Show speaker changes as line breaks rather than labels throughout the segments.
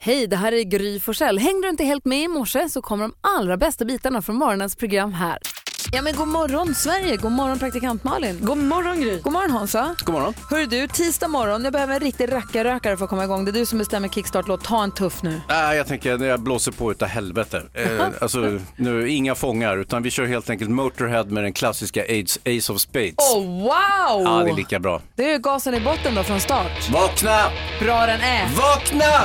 Hej, det här är Gry Forssell. Hängde du inte helt med i morse så kommer de allra bästa bitarna från morgonens program här. Ja men god morgon Sverige, god morgon praktikant Malin.
God morgon Gry.
God morgon Hansa.
God morgon.
Hör du, tisdag morgon, jag behöver en riktig rackarrökare för att komma igång. Det är du som bestämmer kickstart-låt, ta en tuff nu.
Nej, jag tänker när jag blåser på utav helvete. Eh, alltså, nu, inga fångar, utan vi kör helt enkelt Motorhead med den klassiska Ace, Ace of Spades.
Oh wow!
Ja, det är lika bra.
Det är ju gasen i botten då från start.
Vakna!
Bra den är.
Vakna!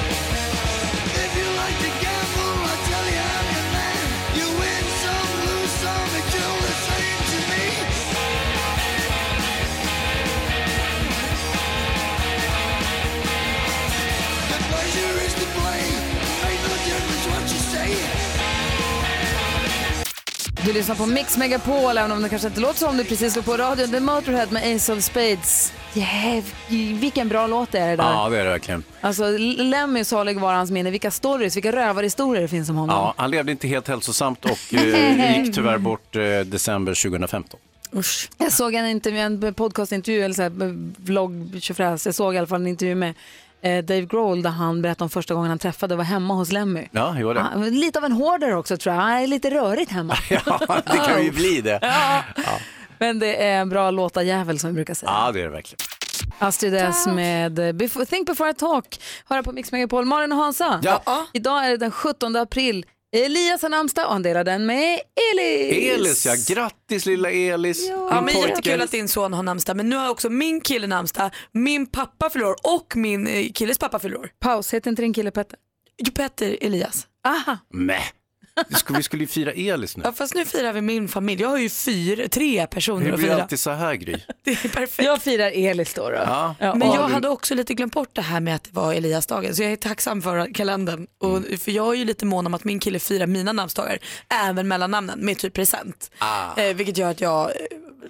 If you like to gamble, I tell you I'm your man. You win some, lose some, it's all the same to me. The pleasure is to blame. Make no difference what you say.
Du lyssnar på Mix Megapol, även om det kanske inte låter som du precis slog på radion. Det är Motorhead med Ace of Spades. Yeah, vilken bra låt det är det där.
Ja, det är det verkligen.
Alltså, Lemmy salig var hans minne. Vilka stories, vilka rövarhistorier det finns om honom.
Ja, han levde inte helt hälsosamt och eh, gick tyvärr bort eh, december 2015.
Usch.
Jag såg en, intervju, en podcastintervju, eller så här, vlogg, tjofräs. Jag såg i alla fall en intervju med eh, Dave Grohl där han berättade om första gången han träffade och var hemma hos Lemmy.
Ja, det var det.
Han var lite av en hoarder också tror jag. Han är lite rörigt hemma.
Ja, det kan ju bli det.
Men det är en bra låtarjävel som vi brukar säga.
Ja, det är det verkligen.
Astrid S med eh, Before, Think before I talk. Höra på Mix Megapol. Malin och Hansa.
Ja.
Idag är det den 17 april. Elias har namnsdag och han delar den med Elis.
Elis, ja. Grattis lilla Elis. Din
Ja, men
pojke.
jättekul att din son har namnsdag men nu har också min kille namnsdag, min pappa förlorar och min eh, killes pappa förlorar.
Paus, heter inte din kille Petter?
Jo, Petter Elias.
Aha.
Mäh. Vi skulle- Vi skulle ju fira Elis nu.
Ja, fast nu firar vi min familj. Jag har ju fyra, tre personer
Det
att
blir
fira.
alltid så här Gry.
Det är perfekt.
Jag firar Elis då. då.
Ja.
Men
och-
jag hade också lite glömt bort det här med att det var Eliasdagen så jag är tacksam för kalendern.
Mm.
Och, för jag är ju lite mån om att min kille firar mina namnsdagar, även mellannamnen, med typ present.
Ah.
Eh, vilket gör att jag eh,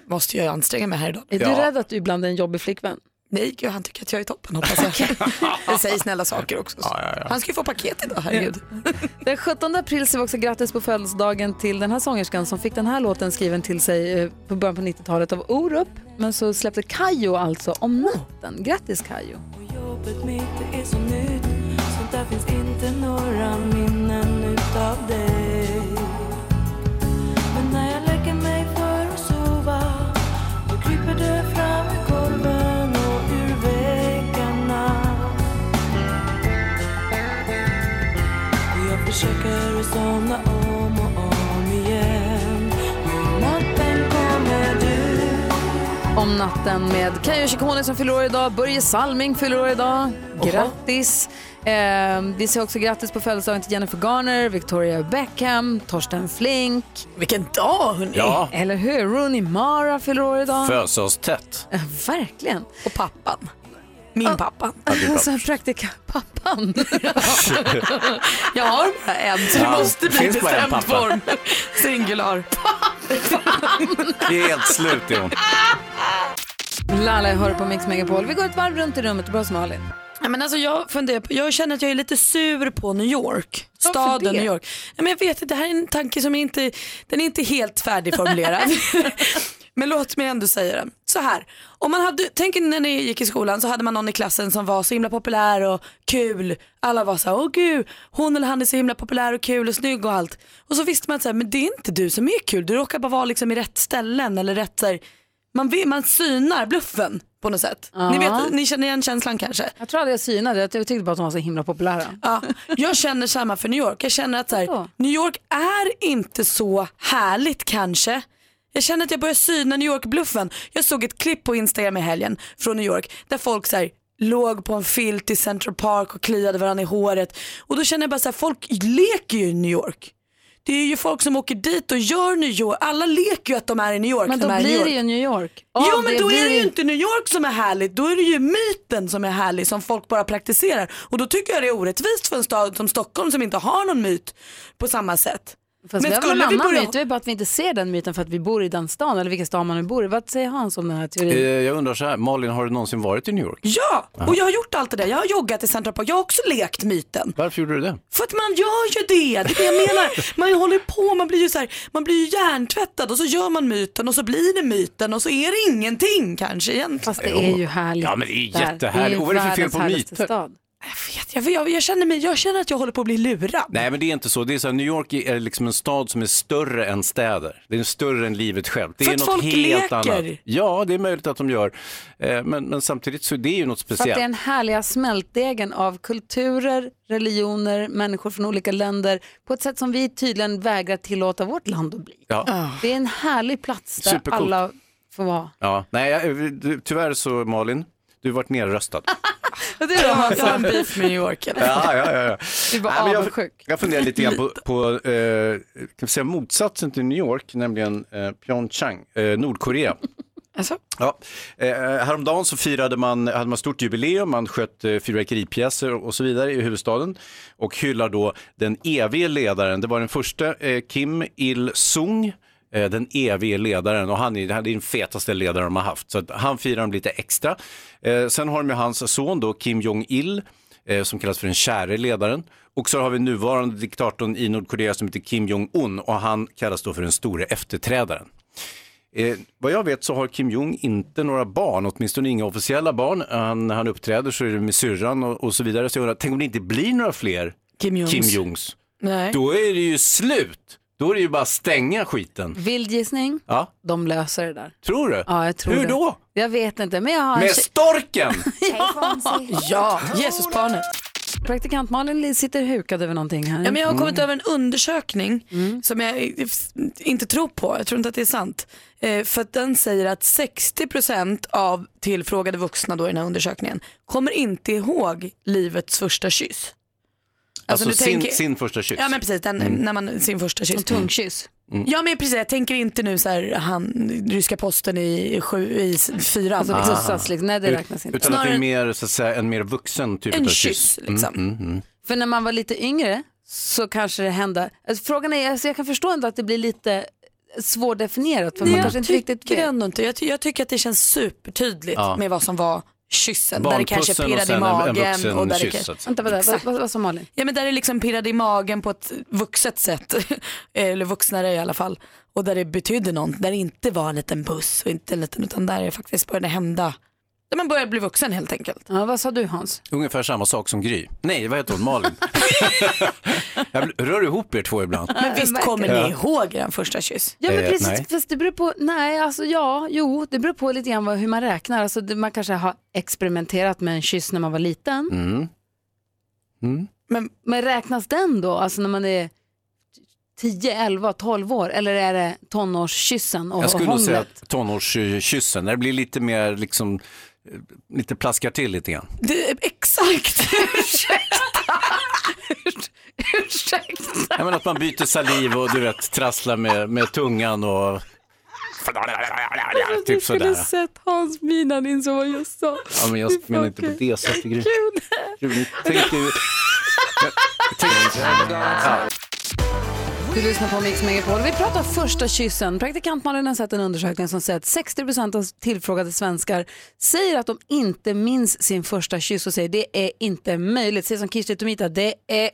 måste ju anstränga mig här idag.
Är du
Ja.
rädd att du ibland är en jobbig flickvän?
Nej, gud, han tycker att jag är toppen hoppas jag. Det säger snälla saker också. Han ska ju få paket idag, herregud.
Den 17 april säger vi också grattis på födelsedagen till den här sångerskan som fick den här låten skriven till sig eh, på början på 90-talet av Orup. Men så släppte Kayo alltså om natten. Grattis Kayo.
Jobbet mitt är så nytt så där finns inte några minnen utav dig Men när jag lägger mig för att sova då kryper du fram ur golven och ur väggarna Och jag försöker att somna om och om igen Men natten kommer du
Om natten med Kayo Chikone som fyller år idag, Börje Salming fyller år idag. Grattis! Eh, vi säger också grattis på födelsedagen till Jennifer Garner, Victoria Beckham, Torsten Flink,
Vilken dag hörni.
Ja,
eller hur? Rooney Mara fyller år idag.
fösa oss tätt.
Eh, Verkligen!
Och pappan. Min pappa.
Alltså praktikantpappan.
Jag har bara en så det
Ja,
måste
det
bli
finns bara en
bestämd
pappa.
form. Singular.
Det är helt slut är hon.
Lala, jag hör på Mix Megapol. Vi går ett varv runt i rummet. Bra som Malin.
Nej, men alltså jag, funderar på, jag känner att jag är lite sur på New York.
Varför
Staden
det?
New York. Nej, men jag vet att det här är en tanke som är inte, den är inte helt färdigformulerad. men låt mig ändå säga den. Så här, om man hade, tänk er när ni gick i skolan så hade man någon i klassen som var så himla populär och kul. Alla var så här, åh gud, hon eller han är så himla populär och kul och snygg och allt. Och så visste man att så här, men det är inte du som är kul, du råkar bara vara liksom i rätt ställen eller rätt så här, man, vet- man synar bluffen på något sätt. Ni, vet, ni känner igen känslan kanske?
Jag tror aldrig jag synade. Jag tyckte bara att de var så himla populära.
Ja, jag känner samma för New York. Jag känner att så
Ja.
här, New York är inte så härligt kanske. Jag känner att jag börjar syna New York-bluffen. Jag såg ett klipp på Instagram i helgen från New York där folk så här, låg på en filt i Central Park och kliade varandra i håret. Och då känner jag bara så här, folk leker ju i New York. Det är ju folk som åker dit och gör New York. Alla leker ju att de är i New York.
Men
de
då
är i New
blir
York.
det ju New York.
Jo
Av
men då är det
blir-
ju inte New York som är härligt, då är det ju myten som är härlig som folk bara praktiserar. Och då tycker jag det är orättvist för en stad som Stockholm som inte har någon myt på samma sätt.
Fast
Men
det var en
skulle vi
annan
börja-
myt, det är bara att vi inte ser den myten för att vi bor i den stan eller vilken stad man nu bor i. Vad säger Hans om den här teorin?
Eh, Jag undrar så här, Malin, har du någonsin varit i New York?
Ja,
Eh,
och jag har gjort allt det där. Jag har joggat i Central Park. Jag har också lekt myten.
Varför gjorde du det?
För att man gör ju det, det är det jag menar. Man håller på, man blir ju så här, man blir ju hjärntvättad och så gör man myten och så blir det myten och så är det ingenting kanske egentligen.
Fast det är ju härligt.
Ja, men det är ju
där.
jättehärligt. Och vad är det för fel
världens
på
härligaste
myter?
stad.
Jag, vet, jag, jag, känner mig, jag känner att jag håller på att bli lurad.
Nej, men det är inte så. Det är så här, New York är liksom en stad som är större än städer. Det är större än livet självt. Det
För
är
att
något
folk
helt
leker.
annat. Ja, det är möjligt att de gör. Eh, Men, men samtidigt så är det ju något
För att
speciellt.
det är den härliga smältdegen av kulturer, religioner, människor från olika länder på ett sätt som vi tydligen vägrar tillåta vårt land att bli.
Ah.
Ja.
Det är en härlig plats där
Supercoolt.
alla får vara.
Ja. Nej, jag- eh, du- tyvärr så Malin, du har varit nerröstad.
Och du då Hans?
Jag har en beef med New York. eller?
Ja, ja, ja, ja.
Du var
Nej, men jag,
avundsjuk.
jag funderar lite grann på, på eh, kan vi säga motsatsen till New York, nämligen eh, Pyeongchang, eh, Nordkorea.
Alltså?
Ja. Eh, häromdagen så firade man, hade man stort jubileum, man sköt eh, fyrverkeripjäser och så vidare i huvudstaden och hyllar då den evige ledaren. Det var den första eh, Kim Il-Sung, eh, den evige ledaren och han är, han är den fetaste ledaren de har haft. Så att han firar dem lite extra. Eh, sen har de ju hans son då, Kim Jong-Il, eh, som kallas för den käre ledaren. Och så har vi nuvarande diktatorn i Nordkorea som heter Kim Jong-Un och han kallas då för den store efterträdaren. Eh, vad jag vet så har Kim Jong inte några barn, åtminstone inga officiella barn. Han, när han uppträder så är det med syrran och, och så vidare. Så jag undrar, tänk om det inte blir några fler
Kim Jongs.
Kim Jongs?
Nej.
Då är det ju slut! Då är det ju bara att stänga skiten.
Vild gissning,
Ja,
de löser det där.
tror du?
Ja, jag tror
Hur
det.
då?
Jag vet inte, men jag har en
Med
tjej-
storken!
Ja, Jesusbarnet.
praktikant Malin sitter hukad över någonting här.
Ja, men jag har
Mm.
kommit över en undersökning som jag eh, f- inte tror på. Jag tror inte att det är sant. Eh, för att den säger att 60% av tillfrågade vuxna då i den här undersökningen kommer inte ihåg livets första kyss.
Alltså,
du
sin,
tänker-
sin första kyss. Mm.
Ja men precis, den, när man sin första kyss.
Tungkyss.
Ja men precis, jag tänker inte nu så här, han, ryska posten i, sju, i s- fyran.
Alltså pussas liksom, nej det räknas inte.
Ah. Utan att det
Snarare-
är mer, så att säga, en mer vuxen typ
en
av mm,
kyss liksom.
För när man var lite yngre så kanske det hände. Alltså, frågan är, alltså, jag kan förstå ändå att det blir lite svårdefinierat för man
Jag
kanske inte riktigt
tycker
vet.
ändå inte, jag, ty- jag tycker att det känns supertydligt
Ja.
med vad som var kyssen. Där det kanske
Barnpussen och
pirrade i
sen en, en
magen.
vuxen
och där det
kyss.
kanske-
så att säga.
Vänta, vad, vad, vad, vad sa Malin?
Ja men där det liksom pirrade i magen på ett vuxet sätt. Eller vuxnare i alla fall. Och där det betydde något. Där det inte var en liten puss och inte en liten utan där det faktiskt började hända. Där man började bli vuxen helt enkelt.
Ja, vad sa du Hans?
Ungefär samma sak som Gry. Nej, vad heter hon? Malin. jag rör ihop er två ibland.
Men visst
verkligen.
kommer ni ihåg er första kyss?
Ja men
Eh,
precis,
nej.
fast det beror på, nej alltså ja, jo, det beror på lite grann vad, hur man räknar. Alltså, det, man kanske har experimenterat med en kyss när man var liten.
Men
Men räknas den då, alltså när man är 10, 11, 12 år eller är det tonårskyssen och
Jag skulle nog
hånglet?
säga att tonårskyssen, när det blir lite mer liksom, eh, lite plaskar till lite grann.
det, exakt.
Ursäkta.
Jag menar att man byter saliv och du vet trasslar med, med tungan och typ sådär.
Alltså, sett Hans min när han insåg vad jag sa.
Ja, men jag menar inte på det sättet. Gry. Gry, Tänk dig-
Du lyssnar på Mix Megapol. Vi pratar första kyssen. Praktikant Malin har sett en undersökning som säger att 60 av tillfrågade svenskar säger att de inte minns sin första kyss och säger det är inte möjligt. Säger som Kirsti Tomita, det är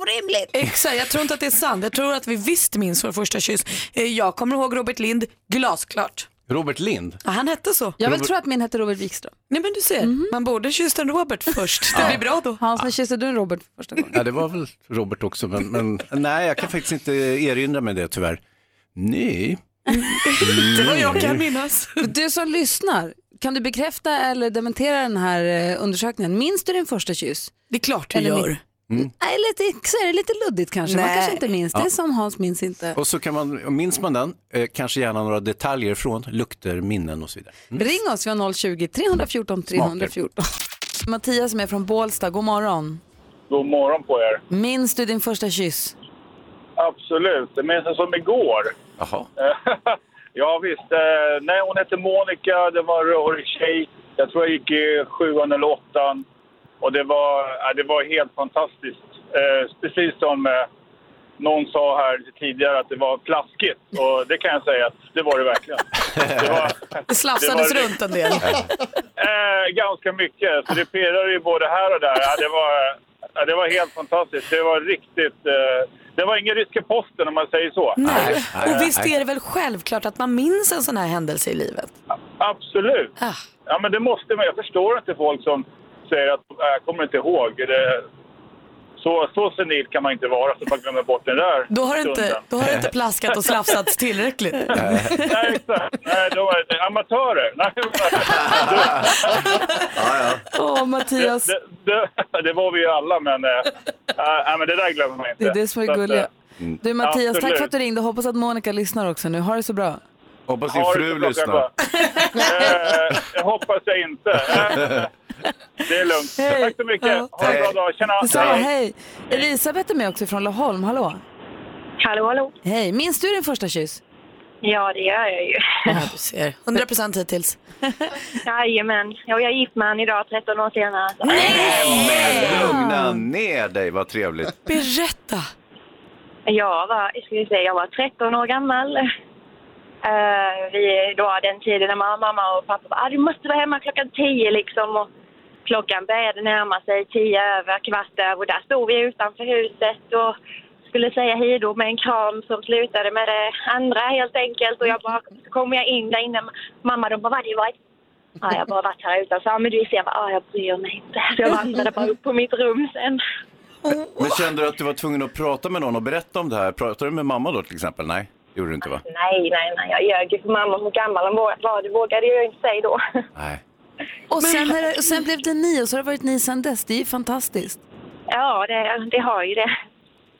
orimligt.
exakt, jag tror inte att det är sant. Jag tror att vi visst minns vår första kyss. Eh, Jag kommer ihåg Robert Lind glasklart.
Robert Lind,
Ja, han hette så.
Jag vill tro att min heter Robert Wikström. Mhm.
Nej men du ser, man borde kyssa en Robert först. Det blir bra då.
Hans, när kysste du en Robert för första gången?
ja det var väl Robert också, men, men nej jag kan faktiskt inte erinra mig det tyvärr. Nej.
Det var jag kan minnas.
Du som lyssnar, kan du bekräfta eller dementera den här eh, undersökningen? Minns du din första kyss?
Det är klart du
Eller
gör.
Mm.
Nej, lite, så är det lite luddigt kanske. Man
Nej.
kanske inte minns. Det är som Hans minns inte.
Och så kan man, minns man den, eh, kanske gärna några detaljer från lukter, minnen och så vidare.
Ring oss, vi har 020-314 314. Mattias som är från Bålsta, god morgon.
God morgon på er.
Minns du din första kyss?
Absolut. Det minns jag som igår.
Jaha.
ja, visst. Eh, Nej, hon hette Monica. Det var en rödhårig tjej. Jag tror jag gick i sjuan eller åttan. Och det var, ja, det var helt fantastiskt. Eh, Precis som eh, någon sa här tidigare att det var plaskigt och det kan jag säga att det var det verkligen. Det var,
Det slafsades
Det var-
runt en del.
eh, ganska mycket, så det pirrade ju både här och där. Ja, det, var, ja, det var helt fantastiskt. Det var riktigt... Eh, det var ingen ryske posten om man säger så.
Nej.
nej,
Och visst
nej.
är det väl självklart att man minns en sån här händelse i livet?
Absolut.
Ah.
Ja, men det måste man. Jag förstår inte folk som säger att "Äh, jag kommer inte ihåg. Det, så, så senil kan man inte vara så man glömmer bort den där
Då har, det inte,
stunden.
då har det inte plaskat och slafsats tillräckligt.
Nej, exakt. Nej, då var det amatörer. Nej,
Åh Mattias.
det, det, det var vi ju alla, men, äh, äh, men det där glömmer man inte.
Det är det som är
Så att,
gulligt.
äh,
Mm.
Du Mattias, tack
Absolut.
för att du ringde. Hoppas att Monica lyssnar också nu. Ha det så bra.
Hoppas din
ha det
fru
så bra,
lyssnar.
grabbar. Eh, Jag hoppas jag inte. Eh, Det är lugnt.
Hej.
Tack så mycket. Ha en bra dag. Tjena.
Så, hej. Elisabeth är med också från Laholm. Hallå.
Hallå, hallå.
Hej. Minns du din första kyss?
Ja, det gör jag ju.
Ja, du ser. 100% hittills.
Jajamän. Ja, jag är gift med han idag, 13 år senare. Så.
Lugna ner dig, vad trevligt.
Berätta.
Jag var, jag skulle säga, jag var 13 år gammal. Eh, vi då hade den tiden när mamma, mamma och pappa bara, "Ah, du måste vara hemma klockan 10 liksom. Och klockan började närma sig 10 över, kvart över och där stod vi utanför huset och skulle säga hej då med en kram som slutade med det andra helt enkelt. Och jag bara, så kom jag in där inne, mamma de bara, vad har du varit? Ja, jag har bara varit här utanför. Ja, men du ser, jag bara, "Ah, jag bryr mig inte. Så jag vandrade bara upp på mitt rum sen.
Men kände du att du var tvungen att prata med någon och berätta om det här? Pratade du med mamma då till exempel? Nej, det gjorde du inte va?
Nej, nej, nej. Jag ljög ju för mamma hur gammal hon var. var. Det vågade jag ju inte säga då.
Nej.
Och sen, är det, och sen blev det ni och så har det varit ni sen dess. Det är ju fantastiskt.
Ja, det, det har ju det.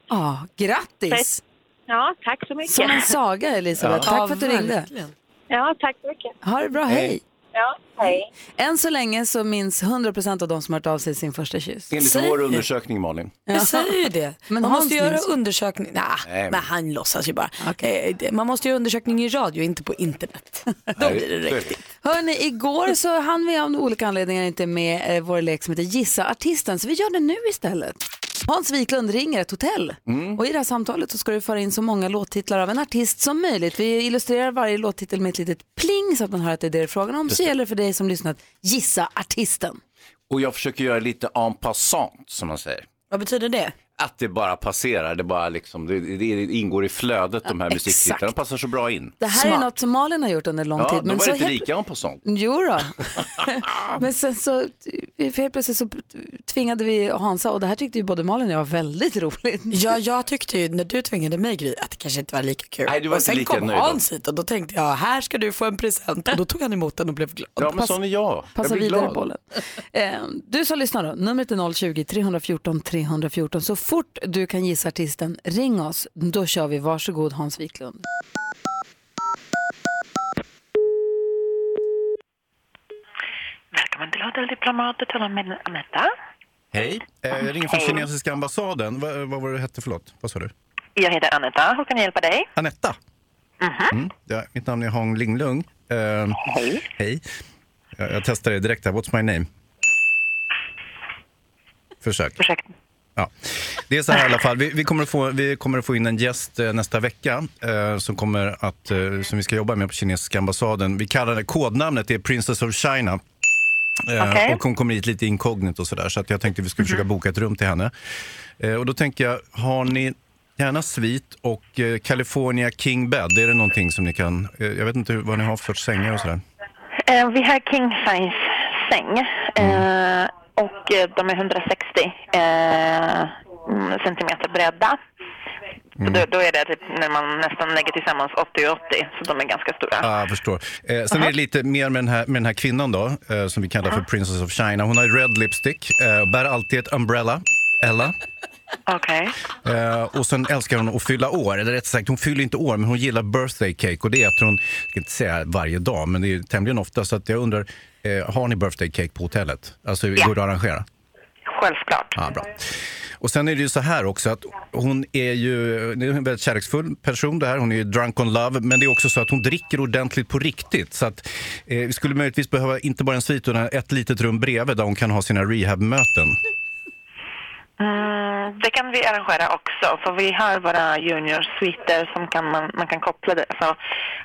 Ja, grattis.
Ja, tack så mycket.
Som en saga Elisabeth. Tack för att du ringde.
verkligen.
Ja, tack så mycket.
Ha det bra. Hej.
Ja, hej.
Än så länge så minns 100% av de som har hört av sig sin första kyss.
Enligt
Säg-
vår undersökning Malin.
Jag säger ju det.
Men
man
Hans
måste göra
minns-
undersökning. Nah,
Nej, men-
men han låtsas ju bara. Eh, det- Man måste göra undersökning i radio, inte på internet. Då
Nej,
blir det
det-
riktigt.
Hörni, igår så hann vi av olika anledningar inte med eh, vår lek som heter Gissa artisten, så vi gör det nu istället. Hans Wiklund ringer ett hotell
Mm.
och i det här samtalet så ska du föra in så många låttitlar av en artist som möjligt. Vi illustrerar varje låttitel med ett litet pling så att man hör att det är det det är frågan om. Så gäller det för dig som lyssnat, gissa artisten.
Och jag försöker göra lite en passant som man säger.
Vad betyder det?
Att det bara passerar, det, bara liksom, det, det ingår i flödet de här musiktitlarna. De passar så bra in.
Det här är
Smart.
något som Malin har gjort under lång
Ja,
tid.
de var
så
lite
helt-
lika en passant.
Jo då. Men sen så, för helt plötsligt så tvingade vi Hansa och det här tyckte ju både Malin och jag var väldigt roligt.
Ja, jag tyckte ju när du tvingade mig Gry att det kanske inte var lika kul.
Nej, du var
och
inte
sen
lika
kom
nöjd då.
Hans hit och då tänkte jag, här ska du få en present. Och då tog han emot den och blev glad.
Ja, men sån är jag. jag
Passa
blir
vidare
glad.
bollen. Eh, du som lyssnar då, numret är 020-314 314. Så fort du kan gissa artisten, ring oss. Då kör vi. Varsågod Hans Wiklund.
Välkommen till Hotell Diplomat. Du talar med Anetta.
Hej, eh, jag ringer från kinesiska ambassaden. Va, vad var det hette, förlåt? Vad sa du?
Jag heter Anetta. Hur kan jag hjälpa dig?
Anetta. Mm. Ja, mitt namn är Hong Linglung. Eh, hej. Hej. Jag, jag testar det direkt här. What's my name? Försök.
Ursäkta.
Ja. Det är så här i alla fall. Vi, vi, kommer att få, vi kommer att få in en gäst eh, nästa vecka eh, som, kommer att, eh, som vi ska jobba med på kinesiska ambassaden. Vi kallar det kodnamnet, det är Princess of China. Eh,
Okej.
Och hon kommer hit lite inkognito och sådär. Så att jag tänkte vi skulle försöka boka ett rum till henne. Eh, och då tänker jag, har ni gärna svit och eh, California King Bed? Är det någonting som ni kan... Eh, jag vet inte hur, vad ni har för sängar och sådär.
Eh, vi har King Size säng. Eh, och eh, de är 160 eh, mm, centimeter breda.
Mm.
Så Då, då är det typ när man nästan lägger tillsammans 80 och 80, så de är ganska stora.
Ja, jag förstår. Eh, sen är det lite mer med den här, med den här kvinnan då, eh, som vi kallar för Princess of China. Hon har ju red lipstick, eh, och bär alltid ett umbrella, Ella.
Okej.
Eh, och sen älskar hon att fylla år, eller rätt sagt hon fyller inte år, men hon gillar birthday cake. Och det äter hon, jag ska inte säga varje dag, men det är tämligen ofta. Så att jag undrar, eh, har ni birthday cake på hotellet? Alltså, går det att arrangera?
Självklart.
Ja, bra. Och sen är det ju så här också att hon är ju det är en väldigt kärleksfull person det här. Hon är ju drunk on love. Men det är också så att hon dricker ordentligt på riktigt. Så att eh, vi skulle möjligtvis behöva inte bara en svit utan ett litet rum bredvid där hon kan ha sina rehabmöten.
Mm, det kan vi arrangera också, för vi har våra juniorsviter som kan man, man kan koppla det, alltså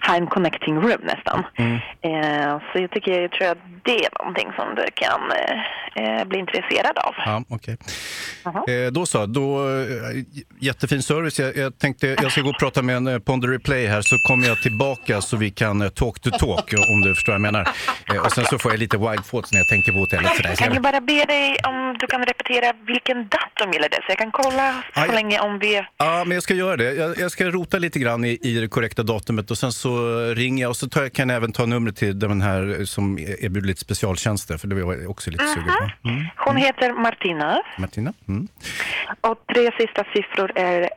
ha en connecting room nästan. Eh, så jag tycker, jag tror att det är någonting som du kan eh, eh, bli intresserad av.
Ja, okej. Eh, då så, då, eh, j- jättefin service. Jag, jag tänkte jag ska gå och prata med en eh, Ponder Replay här så kommer jag tillbaka så vi kan eh, talk to talk eh, om du förstår vad jag menar. Eh, och sen så får jag lite wild thoughts när jag tänker på hotellet. Så där.
Kan jag bara be dig om du kan repetera vilken datum gäller det, så jag kan kolla
Aj.
så länge om vi...
Ja, men jag ska göra det. Jag, jag ska rota lite grann i, i det korrekta datumet och sen så ringer jag och så tar, jag- kan jag även ta numret till den här eh, som erbjuder lite specialtjänster för det var jag också lite sugen på. Mm,
Hon heter Martina
Martina? Mm.
och tre sista siffror är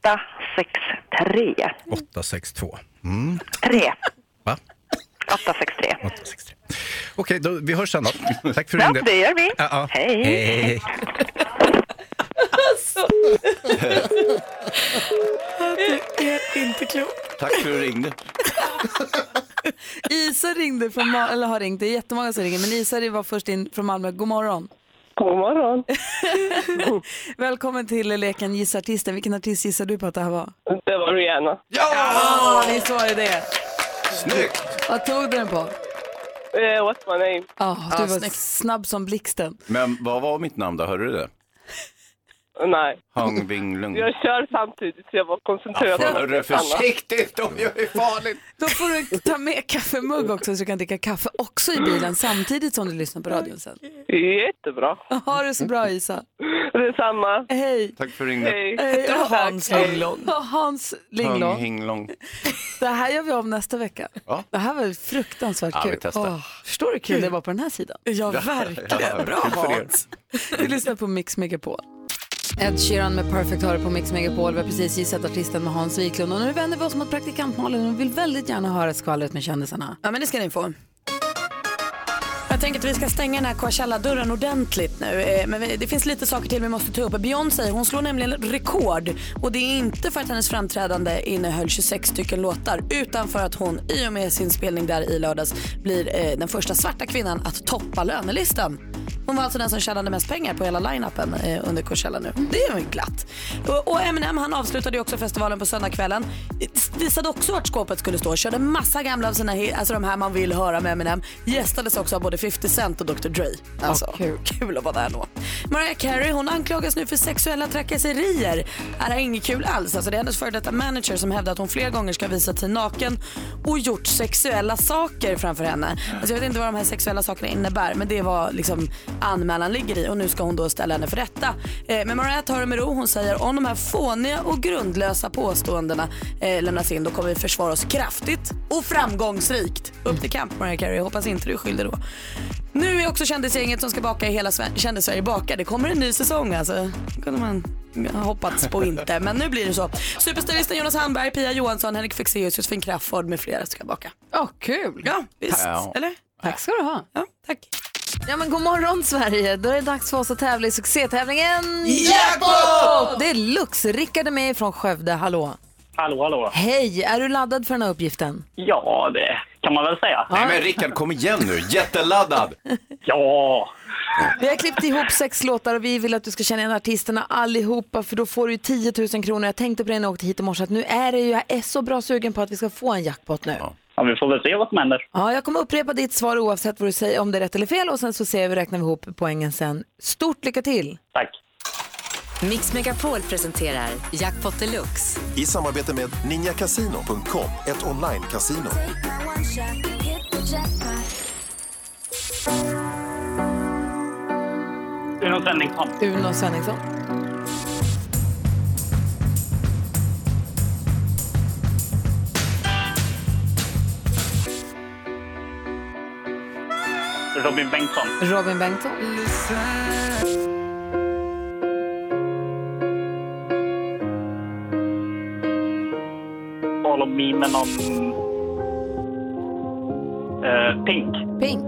863.
862. Mm.
3.
Va?
863.
863. Okej, då, vi hörs sen då. Tack för
Ja,
ringde.
det gör vi.
Ja, ja.
Hej.
hej.
Helt inte klokt.
Tack för att du ringde.
Isa ringde från Mal- eller har ringt, det är jättemånga som ringer, men Isa var först in från Malmö. God morgon.
God morgon.
Välkommen till leken Gissa artisten. Vilken artist gissar du på att det här var?
Det var Rihanna.
Ja, visst var det det.
Snyggt!
Vad tog du den på?
Eh, what's my name?
Ja, Ah, du var
snyggt.
snabb som blixten.
Men vad var mitt namn då? Hörde du det?
Eh, Nej,
Hang Wing Lung.
jag kör samtidigt så jag var koncentrerad på
Hörru,
något annat.
försiktigt! De gör ju farligt!
Då får du ta med kaffemugg också så du kan dricka kaffe också i bilen samtidigt som du lyssnar på radion sen.
Jättebra.
Ha det så bra Isa.
Detsamma.
Hej.
Tack för ringen.
Hej.
Hej.
Det var Hans Linglong.
Ja, Hans
Hang
Linglong.
Hing Long.
Det här gör vi om nästa vecka.
Ja.
Det här var fruktansvärt
Ja, vi
kul.
testar.
förstår du hur kul det var på den här sidan?
Ja, verkligen. Bra
Kul för er.
Hans.
Vi lyssnar på Mix Megapol. Ed Sheeran med Perfect hör på Mix Megapol. Vi har precis gissat artisten med Hans Wiklund. Och nu vänder vi oss mot praktikant Malin. Hon vill väldigt gärna höra skvallret med kändisarna.
Ja, men det ska ni få. Jag tänker att vi ska stänga den här Coachella-dörren ordentligt nu. Eh, Men vi- det finns lite saker till vi måste ta upp. Beyoncé hon slår nämligen rekord. Och det är inte för att hennes framträdande innehöll 26 stycken låtar. Utan för att hon i och med sin spelning där i lördags blir eh, den första svarta kvinnan att toppa lönelistan. Hon var alltså den som tjänade mest pengar på hela line-upen eh, under Coachella nu. Det är ju glatt. Och, och Eminem han avslutade ju också festivalen på söndagskvällen. Eh, Visade också vart skåpet skulle stå. Körde massa gamla av sina hi- alltså de här man vill höra med Eminem. Gästades också av både 50 Cent och Dr Dre. Alltså,
kul.
kul att vara där då. Mariah Carey hon anklagas nu för sexuella trakasserier. Är det här inget kul alls? Alltså, det är hennes före detta manager som hävdar att hon flera gånger ska visa sig naken och gjort sexuella saker framför henne. Alltså, jag vet inte vad de här sexuella sakerna innebär men det var liksom anmälan ligger i och nu ska hon då ställa henne för rätta. Eh, men Mariah tar det med ro. Hon säger om de här fåniga och grundlösa påståendena eh, lämnas in då kommer vi försvara oss kraftigt och framgångsrikt. Upp till kamp Mariah Carey. Hoppas inte du är skyldig då. Nu är också kändisgänget som ska baka i hela Sve- kändis-Sverige bakar. Det kommer en ny säsong alltså. Det kunde man ha hoppats på inte. Men nu blir det så. Superstylisten Jonas Hamberg, Pia Johansson, Henrik Fexeus, Josefin Crafoord med flera ska baka.
Åh, kul!
Ja, visst.
Ja.
Eller?
Tack ska du ha.
Ja, tack.
Ja, men god morgon Sverige! Då är det dags för oss att tävla i succétävlingen Jackpot! Det är Lux. Rickard är med från Skövde. Hallå!
Hallå, hallå.
Hej! Är du laddad för den här uppgiften?
Ja, det kan man väl säga.
Nej men Rickard, kom igen nu! Jätteladdad!
Ja,
Vi har klippt ihop sex låtar och vi vill att du ska känna igen artisterna allihopa för då får du ju 10 000 kronor. Jag tänkte på det när jag åkte hit i morse att nu är det ju, jag är så bra sugen på att vi ska få en jackpot nu.
ja vi får väl se vad som händer.
Ja, jag kommer upprepa ditt svar oavsett vad du säger, om det är rätt eller fel och sen så ser vi, räknar vi ihop poängen sen. Stort lycka till!
Tack.
Mix Megapol presenterar Jackpot Deluxe.
I samarbete med ninjakasino.com, ett online-casino.
Uno Svenningsson.
Uno Svenningsson.
Robin Bengtsson.
Robin Bengtsson.
Tal om mimen om... Eh, Pink.
Pink.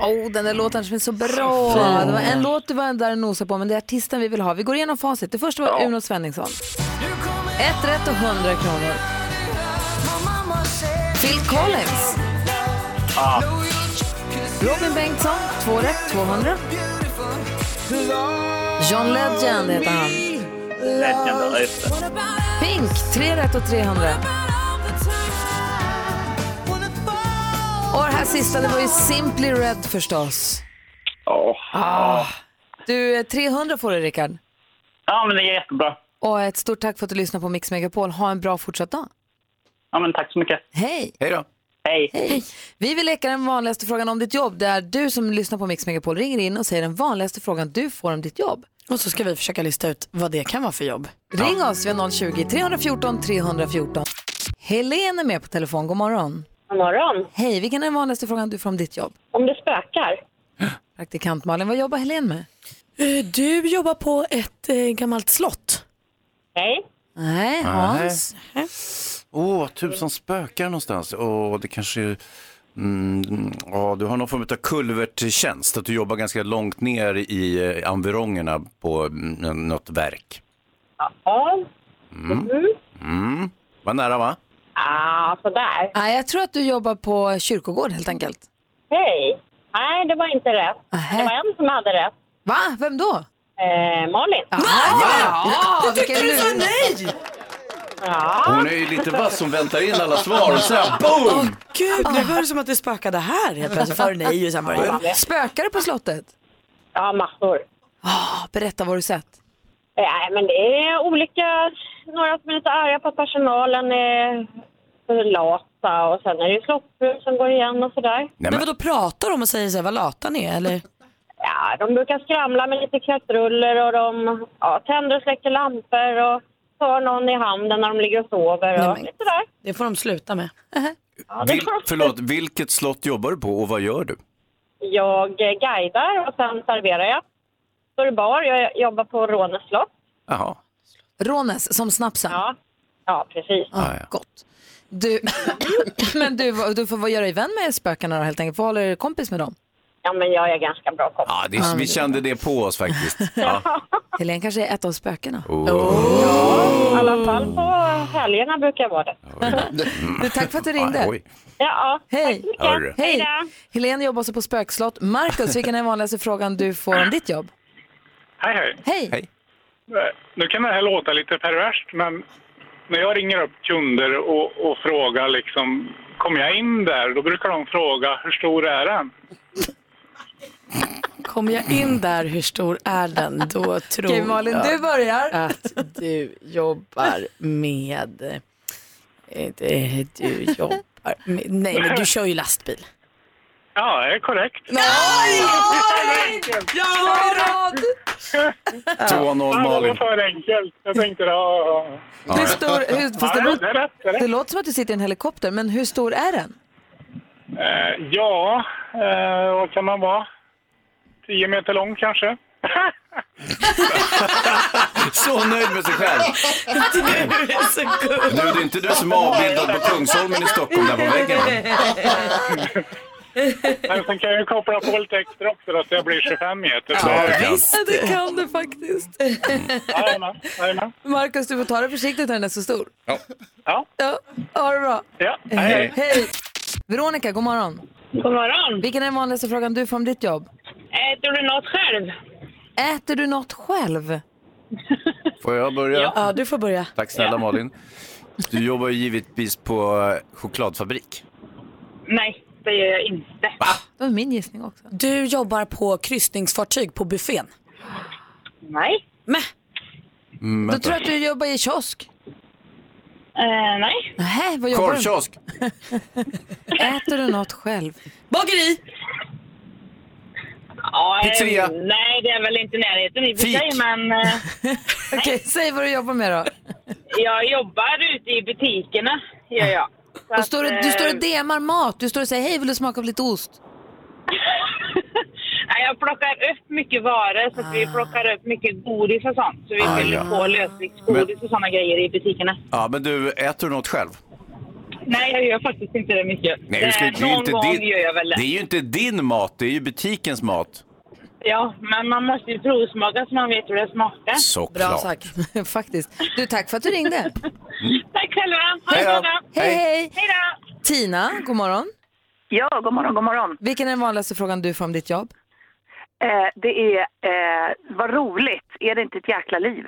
Oh, den där låten som är så bra. Det var en låt du var där och nosade på, men det är artisten vi vill ha. Vi går igenom facit. Det första var Uno Svenningsson. Ett rätt och 100 kronor. Phil Collins.
Ah.
Robin Bengtsson, två rätt, 200. John Legend heter han.
Legend, just det.
Pink, tre rätt och 300. Och det här sista, det var ju Simply Red förstås.
Ja.
Ah. Du, eh, 300 får du Rickard.
Ja, men det är jättebra.
Och ett stort tack för att du lyssnade på Mix Megapol. Ha en bra fortsatt dag.
Ja, men tack så mycket.
Hej!
Hej då. Hej.
Hej. Vi vill leka den vanligaste frågan om ditt jobb. Där du som lyssnar på Mix Megapol ringer in och säger den vanligaste frågan du får om ditt jobb.
Och så ska vi försöka lista ut vad det kan vara för jobb.
Ring oss vid 020-314 314. Helene är med på telefon. God morgon.
God morgon.
Hej, vilken är den vanligaste frågan du får om ditt jobb?
Om det spökar.
Praktikant Malin, vad jobbar Helene med?
Eh, Du jobbar på ett eh, gammalt slott.
Nej.
Nej,
Hans.
Åh, tusan spökar någonstans. Åh, det kanske... Mm, ja, du har någon form av kulverttjänst, att du jobbar ganska långt ner i eh, environgerna på mm, något verk.
Ja.
Mm. Mm. Var nära va?
Ah, sådär.
Nej, jag tror att du jobbar på kyrkogård helt enkelt.
Hej. Nej, det var inte rätt. Det var en som hade rätt.
Va? Vem då?
Eh, Malin.
Ja, vilken lur.
nej!
Hon är ju lite vass, hon väntar in alla svar och sen boom!
Gud, nu
Ah.
var det som att det spökade här helt plötsligt. För nej och sen var det ja.
Spökar det på slottet?
Ja, massor.
Ah, berätta vad du sett.
Nej, men det är olika. Några som är lite arga på att personalen är för lata och sen är det ju slotthus som går igen och sådär.
Men vadå, pratar de och säger så här, vad lata ni är eller?
Ja, de brukar skramla med lite knäppruller och de ja, tänder och släcker lampor och tar någon i handen när de ligger och sover. Och
men-
lite där.
Det får de sluta med.
Vil, förlåt, vilket slott jobbar du på och vad gör du?
Jag eh, guidar och sen serverar jag. Står i bar. Jag jobbar på Rånes slott.
Jaha.
Rånes, som snapsen? Ja,
ja precis.
Gott. Du, men du, vad- du får vad göra i vän med spökarna då helt enkelt. Får hålla er kompis med dem.
Ja, men jag är ganska bra kompis.
Ja, det, vi kände det på oss faktiskt. Ja. Oh.
Helene kanske är ett av spökena.
Oh. I alla fall på helgerna brukar jag vara det.
Du, tack för att du ringde.
Ja, oj. Ja,
Hej.
Hörru. Hej
Hej.
då.
Helene jobbar också på spökslott. Markus, vilken är den vanligaste frågan du får om ditt jobb?
Hej, hej.
Hej.
Eh, Nu kan det här låta lite perverst, men när jag ringer upp kunder och, och frågar liksom, kommer jag in där? Då brukar de fråga, hur stor är den?
Kommer jag in där, hur stor är den? Då tror
Okej, Malin,
jag
du börjar.
att du jobbar med... eh, eh, Du jobbar med... Nej, men du kör ju lastbil.
Ja, det är korrekt.
Nej!
Jag var
rad!
2-0
Ja, det var
Malin.
för enkelt. Jag tänkte, ja... ja.
Hur stor, hur, fast det,
Ja, det är rätt, det är
låter,
rätt.
det låter som att du sitter i en helikopter, men hur stor är den?
Eh, ja, eh, vad kan man vara? 10 meter lång kanske?
Så nöjd med sig själv.
Du är så
Du, det är inte du som är avbildad på Kungsholmen i Stockholm där på väggen.
Men sen kan jag ju koppla på lite extra också så att jag blir 25 meter.
Ja, det kan.
Ja, det kan du faktiskt. Markus, du får ta det försiktigt när den är så stor.
Ja.
Ja.
ja ha det bra.
Ja,
hej. hej. Veronica, god morgon.
God morgon.
Vilken är den vanligaste frågan du får om ditt jobb?
Äter Eh, du något själv?
Äter du något själv?
Får jag börja?
Ja, du får börja.
Tack snälla Malin. Du jobbar ju givetvis på eh, chokladfabrik.
Nej, det gör jag inte.
Det var min gissning också.
Du jobbar på kryssningsfartyg på buffén.
Nej.
Mm,
Då tror jag att du jobbar i kiosk.
Eh, nej.
Nej, vad jobbar du
Korvkiosk.
Äter du något själv?
Bageri!
Ja, eh,
Pizzeria.
Nej, det är väl inte i närheten i och för
Fik.
sig, men eh,
Okej, säg vad du jobbar med då.
jag jobbar ute i butikerna. Gör jag. Så
Du står, och,
att,
du
eh,
står och demar mat. Du står och säger hej, vill du smaka på lite ost?
nej, jag plockar upp mycket varor, så att
Ah.
vi plockar upp mycket godis och sånt. Så vi
Ah,
fyller
ja.
på lösviktsgodis och såna grejer i butikerna.
Ja, men du, äter du något själv?
Nej, jag gör faktiskt inte det mycket.
Nej, du ska,
Eh,
det, är ju
någon
inte
gång
din,
gör jag väl det.
det är ju inte din mat, det är ju butikens mat.
Ja, men man måste ju provsmaka så man vet hur det smakar.
Bra sagt. Faktiskt. Du, tack för att du ringde.
Tack själva. Ha det
Hej då.
bra då.
Hej, hej.
Hej då.
Tina, god morgon.
Ja, god morgon, god morgon.
Vilken är den vanligaste frågan du får om ditt jobb?
Eh, det är, eh, vad roligt, är det inte ett jäkla liv?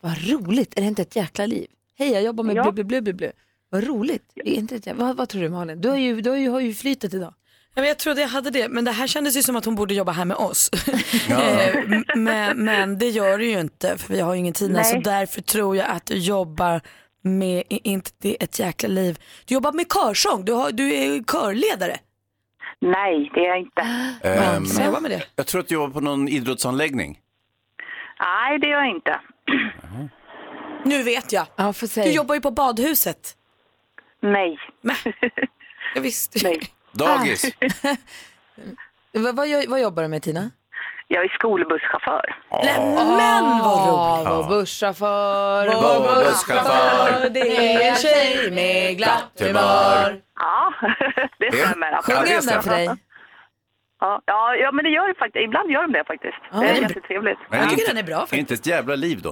Vad roligt, är det inte ett jäkla liv? Hej, jag jobbar med ja. blu, blu, blu, blu. Vad roligt. Är inte ett jäkla... vad, vad tror du Malin? Du har ju, du har ju, har ju flytet idag.
Ja, men jag trodde jag hade det, men det här kändes ju som att hon borde jobba här med oss. Eh, m- men, men det gör du ju inte, för vi har ju ingen tid nu,
Nej.
så därför tror jag att du jobbar med, i- inte det är ett jäkla liv, du jobbar med körsång, du, har, du är ju körledare.
Nej, det är jag inte.
Ehm,
Så jobbar med det.
Jag tror att du jobbar på någon idrottsanläggning.
Nej, det är jag inte.
Nu vet jag.
Ja, för
du jobbar ju på badhuset.
Nej.
Jag visste
Dagis.
vad, vad, gör- vad jobbar du med Tina?
Jag är skolbusschaufför.
Men vad roligt!
Ja.
Vår busschaufför,
Vår
busschaufför.
det är en tjej med glatt humör.
Ja, det stämmer. absolut.
Sjunger de den för dig?
Ja, ja, ja, men det gör ju faktiskt, ibland gör de det faktiskt. det är jättetrevligt.
inte, är inte ett jävla liv då.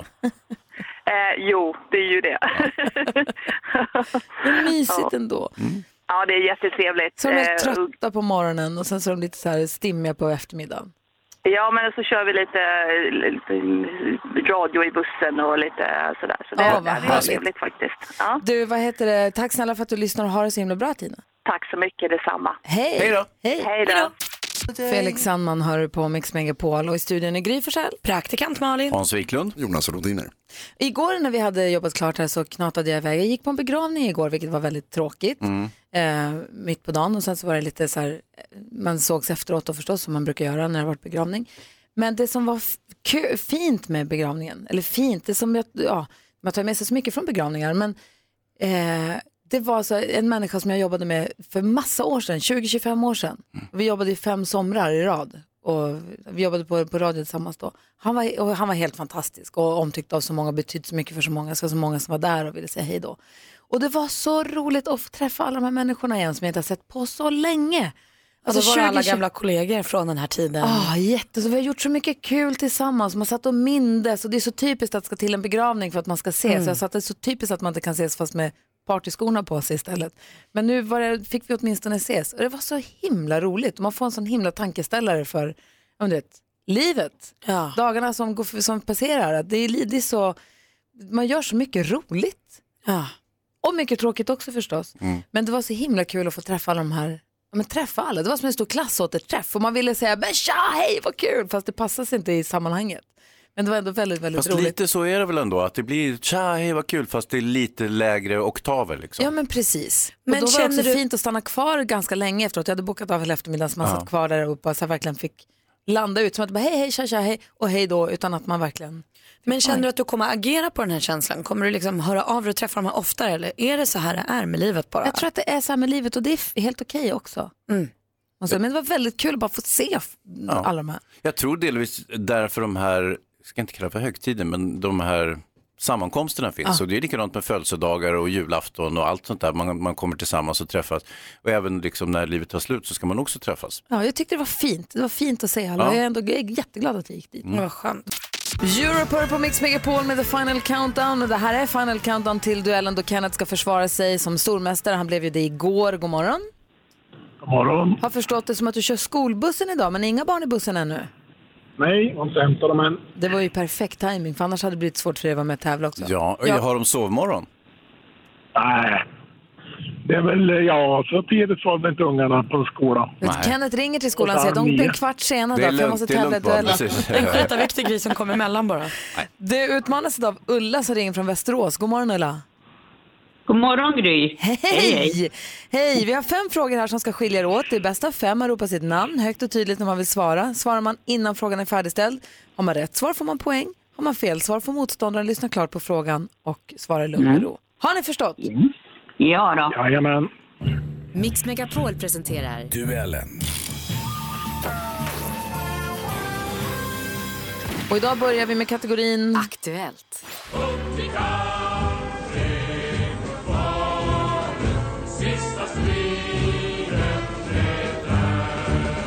Eh, jo, det är ju det.
Det är mysigt ändå.
ja, det är jättetrevligt.
Så de är
Eh,
trötta på morgonen och sen så är de lite så här stimmiga på eftermiddagen.
Ja, men så kör vi lite, lite radio i bussen och lite sådär. Så det,
Ja, vad
det är
härligt.
trevligt faktiskt. Ja,
Du, vad heter det? Tack snälla för att du lyssnar och har det så himla bra Tina.
tack så mycket, detsamma.
Hej! Hej!
Hej då!
Felix Sandman hör du på Mix Megapol och i studion är Gry Forssell.
Praktikant Malin.
Hans Wiklund.
Jonas Rodiner.
Igår när vi hade jobbat klart här så knatade jag iväg. Jag gick på en begravning igår vilket var väldigt tråkigt.
Mm.
eh, mitt på dagen och sen så var det lite så här, eh, man sågs efteråt då förstås som man brukar göra när det har varit begravning. Men det som var f- kö- fint med begravningen, eller fint, det som jag, ja, man tar med sig så mycket från begravningar, men eh, det var så här, en människa som jag jobbade med för massa år sedan, 20-25 år sedan.
Mm.
Vi jobbade i fem somrar i rad och vi jobbade på, på radio tillsammans då. Han var, och han var helt fantastisk och omtyckt av så många, betytt så mycket för så många, så så många som var där och ville säga hej då. Och det var så roligt att få träffa alla de här människorna igen som jag inte har sett på så länge.
Alltså, Ah. var det alla gamla
kollegor från den här tiden? Ja, Ah, jätte. Så vi har gjort så mycket kul tillsammans. Man satt och mindes och det är så typiskt att det ska till en begravning för att man ska ses.
Mm.
Så jag satt, det är så typiskt att man inte kan ses fast med partyskorna på sig istället. Men nu var det, fick vi åtminstone ses och det var så himla roligt. Och man får en sån himla tankeställare för ja, men du vet, livet. Dagarna som, går, som passerar. Att Det är, li- det är så, man gör så mycket roligt. Och mycket tråkigt också förstås. Men det var så himla kul att få träffa alla de här Ja, men träffa alla, det var som en stor klassåterträff och man ville säga men tja, hej vad kul, fast det passade sig inte i sammanhanget. Men det var ändå väldigt, väldigt
Fast
roligt.
lite så är det väl ändå, att det blir tja, hej vad kul, fast det är lite lägre oktaver liksom.
Ja men precis.
Men
och då var det också
känner du-
fint att stanna kvar ganska länge efteråt. Jag hade bokat av hela eftermiddagen så man
Ja.
satt kvar där och bara så här verkligen fick landa ut. Som att bara hej, hej, tja, tja, hej och hej då. Utan att man verkligen...
Men känner du att du kommer agera på den här känslan? Kommer du liksom höra av dig och träffa dem här oftare eller är det så här det är med livet bara?
Jag tror att det är så här med livet och det är f- helt okej också.
Mm.
Och så, men det var väldigt kul att bara få se f- alla de här.
Jag tror delvis därför de här, jag ska inte kalla det för högtiden, men de här sammankomsterna finns.
Ja.
Och det är likadant med födelsedagar och julafton och allt sånt där. Man, man kommer tillsammans och träffas. Och även liksom när livet tar slut så ska man också träffas.
Ja, jag tyckte det var fint. Det var fint att se alla.
Ja.
Jag är ändå jag är jätteglad att jag gick dit.
Mm. Det var
skönt. Europur på Mix Megapol med The Final Countdown. Och det här är Final Countdown till duellen då Kenneth ska försvara sig som stormästare. Han blev ju det igår. God morgon.
God
Mm.
morgon.
Har förstått det som att du kör skolbussen idag, men inga barn i bussen ännu.
Nej, jag har inte hämtat dem än.
Det var ju perfekt timing för annars hade det blivit svårt för dig att vara med och tävla också.
Ja, och har de sovmorgon?
Nej. Det är väl, eh, ja, så tidigt var väl inte ungarna på skolan.
Kenneth ringer till skolan och säger de är en kvart sena
Det är
då, för jag
lugnt,
måste
det är
tävla i
lugnt, barn,
duellen.
precis.
En skitaviktig grej som kom emellan bara.
Du utmanas idag av Ulla som ringer från Västerås. God morgon Ulla.
God morgon Gry.
Hej! Hej, vi har fem frågor här som ska skilja er åt. Det är bäst av fem, man ropar sitt namn högt och tydligt när man vill svara. Svarar man innan frågan är färdigställd, har man rätt svar får man poäng. Har man fel svar får motståndaren lyssna klart på frågan och svara i lugn och
Mm.
ro. Har ni förstått?
Ja då.
Jajamän.
Mix Megapol presenterar
Duellen.
Och idag börjar vi med kategorin Aktuellt.
Sista striden är där.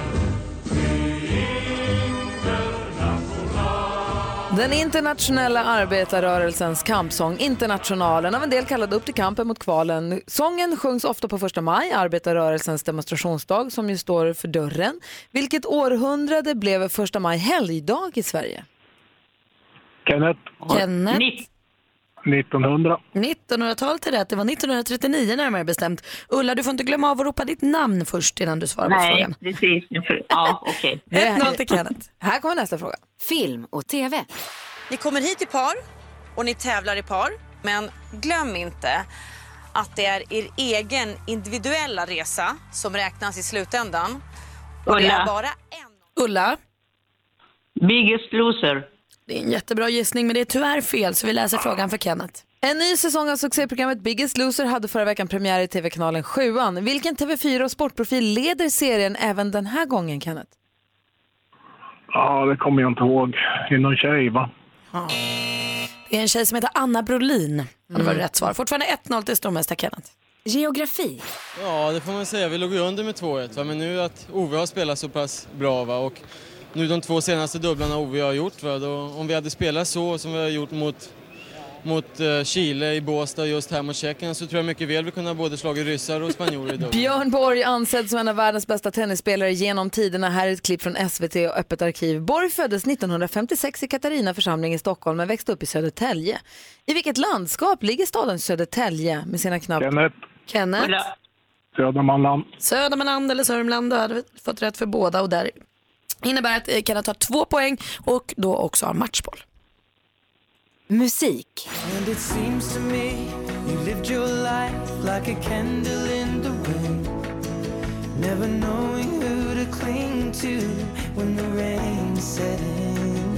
Den internationella arbetarrörelsens kampsång Internationalen, av en del kallad Upp till kampen mot kvalen. Sången sjungs ofta på första maj, arbetarrörelsens demonstrationsdag som ju står för dörren. Vilket århundrade blev första maj helgdag i Sverige?
Kenneth.
Kenneth.
1900.
1900-talet är rätt, det var 1939 närmare bestämt. Ulla, du får inte glömma av att ropa ditt namn först innan du svarar på
Nej,
frågan.
precis. Ja, okej.
1-0 till Kenneth.
Här kommer nästa fråga.
Film och TV.
Ni kommer hit i par och ni tävlar i par. Men glöm inte att det är er egen individuella resa som räknas i slutändan. Och det är
Ulla.
bara
Ulla?
Biggest loser.
Det är en jättebra gissning men det är tyvärr fel så vi läser frågan för Kenneth.
En ny säsong av succéprogrammet Biggest Loser hade förra veckan premiär i TV-kanalen 7. Vilken TV4 och sportprofil leder serien även den här gången, Kenneth?
Ja, det kommer jag inte ihåg. Det är någon tjej, va?
Det är en tjej som heter Anna Brolin. Det var rätt svar. Fortfarande 1-0 till stormästare Kenneth.
Geografi.
Ja, det får man säga. Vi låg ju under med 2-1, va? men nu att Ove har spelat så pass bra va? och nu de två senaste dubblarna Ove har gjort, va? Då, om vi hade spelat så som vi har gjort mot, mot eh, Chile i Båstad och just här mot Tjeckien så tror jag mycket väl vi kunde ha både slagit ryssar och spanjorer i dubbel.
Björn Borg ansedd som en av världens bästa tennisspelare genom tiderna. Här är ett klipp från SVT och Öppet arkiv. Borg föddes 1956 i Katarina församling i Stockholm men växte upp i Södertälje. I vilket landskap ligger staden Södertälje med sina knappt...
Kenneth.
Kenneth.
Södermanland.
Södermanland eller Sörmland, då hade vi fått rätt för båda och där innebär att eh, Kenneth har två poäng och då också har matchboll.
Musik.
And it seems to me you lived your life like a candle in the wind, never knowing who to cling to when the rain set in.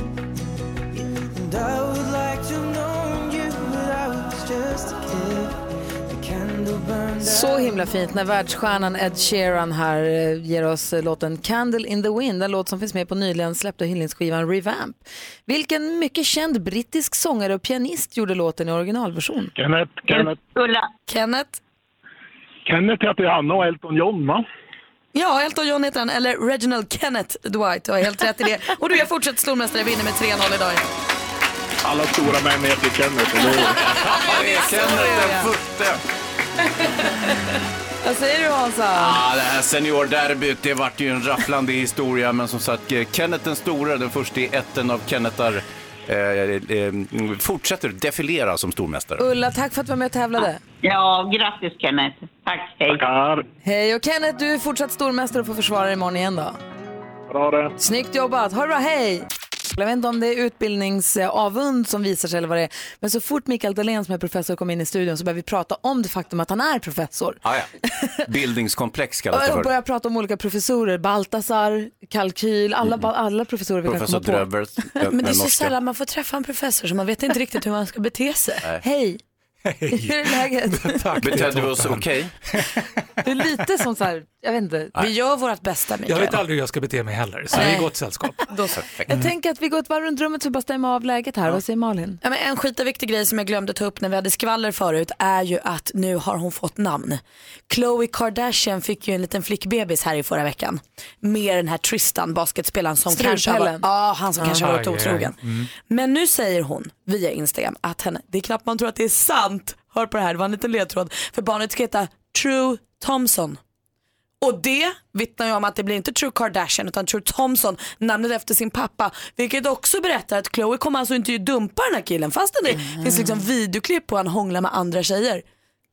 And I would like to know you, but I was just a kid. The candle burned
Så himla fint när världsstjärnan Ed Sheeran här eh, ger oss eh, låten Candle in the Wind, en låt som finns med på nyligen släppta hyllningsskivan Revamp. Vilken mycket känd brittisk sångare och pianist gjorde låten i originalversion?
Kenneth, Kenneth.
Ulla.
Kenneth.
Kenneth heter han och Elton John, va?
Ja, Elton John heter han, eller Reginald Kenneth Dwight. Du har helt rätt i det. Och du är fortsatt stormästare, vinner med 3-0 idag. igen.
Alla stora män heter Kenneth. eller hur?
Vad säger du Hansa?
Ja, det här seniorderbyt, det vart ju en rafflande historia, men som sagt, eh, Kenneth den store, den första i ätten av Kennetar, eh, eh, fortsätter defilera som stormästare.
Ulla, tack för att du var med och tävlade.
Ja, grattis Kenneth. Tack, hej.
Tackar.
Hej, och Kenneth, du är fortsatt stormästare och får försvara dig imorgon igen då.
Bra det.
Snyggt jobbat, ha det bra, hej! Jag vet inte om det är utbildningsavund som visar sig eller vad det är, men så fort Mikael Dahlén som är professor kom in i studion så började vi prata om det faktum att han är professor.
Ah, ja. Bildningskomplex kallas det
Och
för.
började prata om olika professor, Baltasar, Kalkyl, alla, ba- alla professorer vi
Professor
kan komma på.
Dröbers,
Men det är så sällan man får träffa en professor så man vet inte riktigt hur man ska bete sig.
Nej.
Hej! Hur är läget?
Betedde vi oss okej?
Det är lite som så här, jag vet
Mm.
inte.
Nej. Vi
gör vårt bästa
Jag vet aldrig hur jag ska bete mig heller, så vi är i gott sällskap.
Jag tänker att vi går ett varv runt rummet för att bara stämma av läget här. Vad säger Malin?
Ja, men en skitviktig grej som jag glömde ta upp när vi hade skvaller förut är ju att nu har hon fått namn. Khloe Kardashian fick ju en liten flickbebis här i förra veckan. Med den här Tristan, basketspelaren som kanske har varit,
Strulpellen.
ja, han som kanske har varit
Aj, aj, aj.
otrogen. Men nu säger hon via Instagram att henne, det är knappt man tror att det är sant. Hör på det här, det var en liten ledtråd. För barnet ska heta True Thompson. Och det vittnar ju om att det blir inte True Kardashian utan True Thompson, namnet efter sin pappa. Vilket också berättar att Chloe kommer alltså inte dumpa den här killen fastän det finns liksom videoklipp på han hångla med andra tjejer. en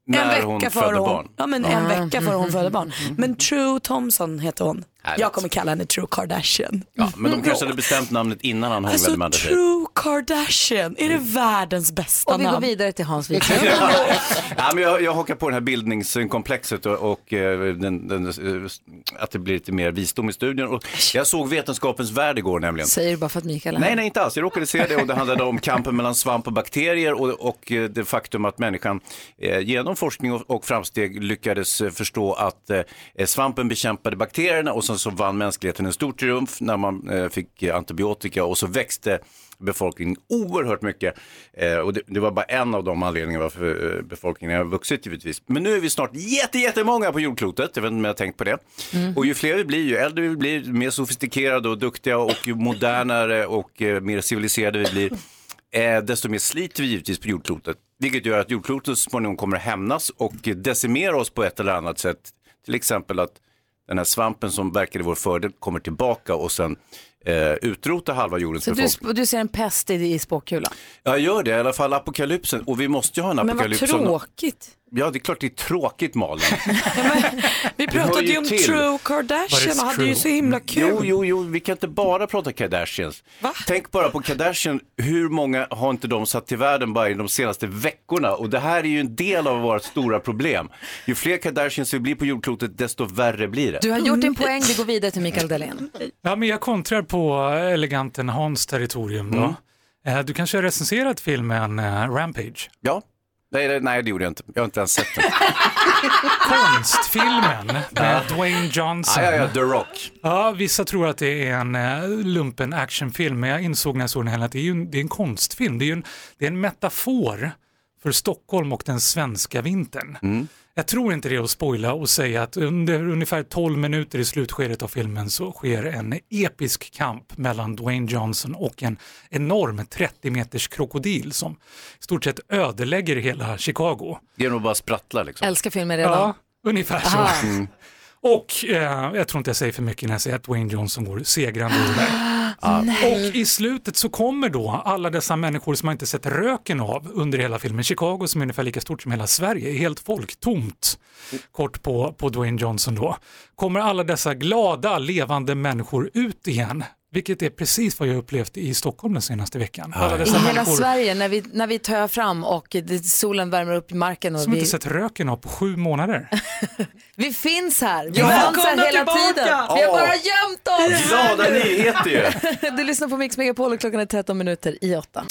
När
vecka
hon
före
födde
hon,
barn.
Ja men
Ja.
en vecka före hon födde barn. Men True Thompson heter hon. Jag kommer kalla henne True Kardashian.
Ja, men de kanske hade bestämt namnet innan han hånglade
Alltså
med andra tjejer.
True Kardashian, är det världens bästa
Och vi går
namn?
vidare till Hans Wiklund.
Ja, men jag, jag hakar på det här bildningskomplexet och, och eh, den, den, eh, att det blir lite mer visdom i studion. Och jag såg Vetenskapens värld igår nämligen.
Säger du bara för att Mikael är här?
Nej, nej, inte alls. Jag råkade se det och det handlade om kampen mellan svamp och bakterier och, och eh, det faktum att människan eh, genom forskning och, och framsteg lyckades eh, förstå att eh, svampen eh, bekämpade bakterierna och som sen så vann mänskligheten en stor triumf när man eh, fick eh, antibiotika och så växte befolkningen oerhört mycket. Eh, och det, det var bara en av de anledningarna varför eh, befolkningen har vuxit givetvis. Men nu är vi snart jätte, jättemånga på jordklotet, jag vet inte om jag har tänkt på det.
Mhm.
Mm.
Och ju fler vi blir, ju äldre vi blir, ju mer sofistikerade och duktiga och ju modernare och eh, mer civiliserade vi blir, eh, desto mer sliter vi givetvis på jordklotet. Vilket gör att jordklotet så småningom kommer att hämnas och decimera oss på ett eller annat sätt. Till exempel att den här svampen som verkar i vår fördel kommer tillbaka och sen eh, utrota halva jordens
Så
befolkning.
du, du ser en pest i, i spåkulan.
Jag gör det, i alla fall apokalypsen. Och vi måste ju ha en
Men vad
apokalyps. om-
tråkigt.
Ja, det är klart det är tråkigt Malin.
Vi
Det hör
pratade
ju
ju om
till.
True Kardashian och hade ju så himla kul.
Mm. Jo, jo, jo, vi kan inte bara prata Kardashians. Tänk bara på Kardashian, hur många har inte de satt till världen bara i de senaste veckorna? Och det här är ju en del av vårt stora problem. Ju fler Kardashians vi blir på jordklotet, desto värre blir det.
Du har gjort din poäng, vi går vidare till Mikael Dahlén.
Ja, men jag kontrar på eleganten Hans territorium då.
Mm.
Eh, Du kanske har recenserat filmen eh, Rampage?
Ja. Nej, det- nej, det gjorde jag inte. Jag har inte ens sett den.
Konstfilmen med Dwayne Johnson.
Ja, ja, ja, The Rock.
Ja, vissa tror att det är en eh, lumpen actionfilm, men jag insåg när jag såg den här att det är, ju en, det är en konstfilm. Det är, ju en, det är en metafor för Stockholm och den svenska vintern. Jag tror inte det är att spoila och säga att under ungefär 12 minuter i slutskedet av filmen så sker en episk kamp mellan Dwayne Johnson och en enorm 30 meters krokodil som i stort sett ödelägger hela Chicago.
Det är nog bara sprattla liksom.
Älskar filmer redan.
Ja, ungefär så.
Aha.
Och eh, jag tror inte jag säger för mycket när jag säger att Dwayne Johnson går segrande ur det.
Ah, nej.
Och i slutet så kommer då alla dessa människor som man inte sett röken av under hela filmen. Chicago som är ungefär lika stort som hela Sverige, är helt folktomt kort på, på Dwayne Johnson då. Kommer alla dessa glada, levande människor ut igen, vilket är precis vad jag upplevt i Stockholm den senaste veckan. Alla
I
dessa
hela
människor
Sverige när vi, när vi töar fram och det, solen värmer upp marken. Och
som
vi,
inte sett röken av på sju månader.
vi finns här, vi
Ja,
finns här
välkomna
hela
tillbaka!
tiden. Vi har
Ja.
bara gömt oss.
Glada nyheter ju.
Du lyssnar på Mix Megapol och klockan är 13 minuter i 8.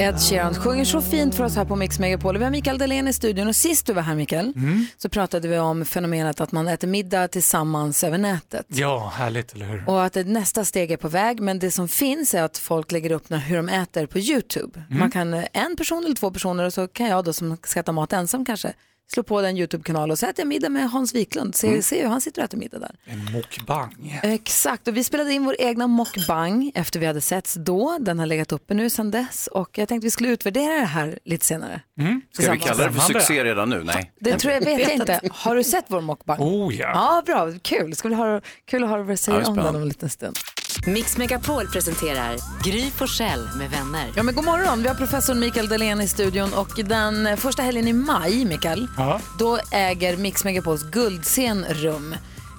Ed Sheeran sjunger så fint för oss här på Mix Megapol. Vi har Mikael Dahlén i studion och sist du var här Mikael
Mm.
så pratade vi om fenomenet att man äter middag tillsammans över nätet.
Ja, härligt, eller hur?
Och att det nästa steg är på väg, men det som finns är att folk lägger upp när- hur de äter på YouTube.
Mm.
Man kan eh, en person eller två personer och så kan jag då som ska äta mat ensam kanske slå på den YouTube-kanal och så äter jag middag med Hans Wiklund. Se,
Mm.
se hur han sitter och äter middag där.
En mukbang.
Exakt, och vi spelade in vår egna mockbang efter vi hade setts då. Den har legat uppe nu sedan dess och jag tänkte vi skulle utvärdera det här lite senare.
Ska vi kalla det för
Spännande.
succé redan nu? Nej.
Det tror jag vet jag inte. Har du sett vår mockbang?
Oh ja.
Ja, bra, kul. Skulle ha, kul att höra vad du säger
Ja, det är
om den om
spännande.
en liten stund.
Mix Megapol presenterar Gry Forssell med vänner.
Ja, men god morgon. Vi har professorn Mikael Dahlén i studion och den eh, första helgen i maj, Mikael,
Ja.
då äger Mix Megapols guldscen rum.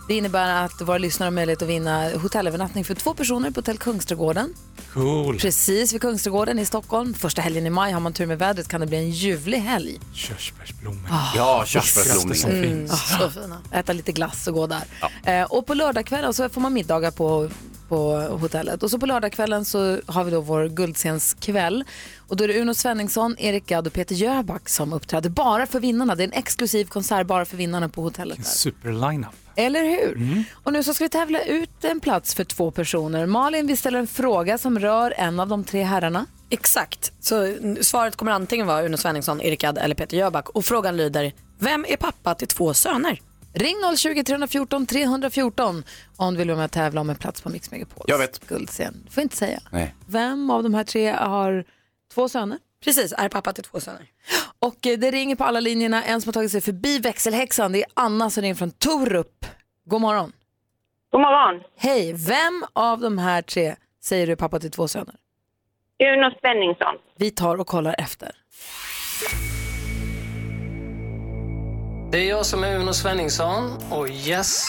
Det innebär att våra lyssnare har möjlighet att vinna hotellövernattning för två personer på Hotell Kungsträdgården.
Cool.
Precis vid Kungsträdgården i Stockholm. Första helgen i maj, har man tur med vädret kan det bli en ljuvlig helg.
Körsbärsblommor.
Ja,
körsbärsblommor. som
Ah, Mm.
finns.
Ah, Äta lite glass och gå där. Eh, och på lördagskvällen så får man middagar på, på hotellet. Och så på lördagskvällen så har vi då vår guldscenskväll. Och då är det Uno Svenningsson, Erik Gadd och Peter Jöback som uppträder bara för vinnarna. Det är en exklusiv konsert bara för vinnarna på hotellet. Där.
Super-lineup.
Eller hur?
Mm.
Och nu så ska vi tävla ut en plats för två personer. Malin, vi ställer en fråga som rör en av de tre herrarna.
Exakt, så n- svaret kommer antingen vara Uno Svenningsson, Erik Gadd eller Peter Jöback och frågan lyder Vem är pappa till två söner?
Ring 020 314 314 om du vill vara med och tävla om en plats på Mix Megapols
Jag vet.
guldscen. får inte säga.
Nej.
Vem av de här tre har två söner? Precis, är pappa till två söner. Och eh, det ringer på alla linjerna. En som har tagit sig förbi växelhäxan, det är Anna som ringer från Torup. God morgon.
God morgon.
Hej, vem av de här tre säger du är pappa till två söner?
Uno Svenningsson.
Vi tar och kollar efter.
Det är jag som är Uno Svenningsson och yes,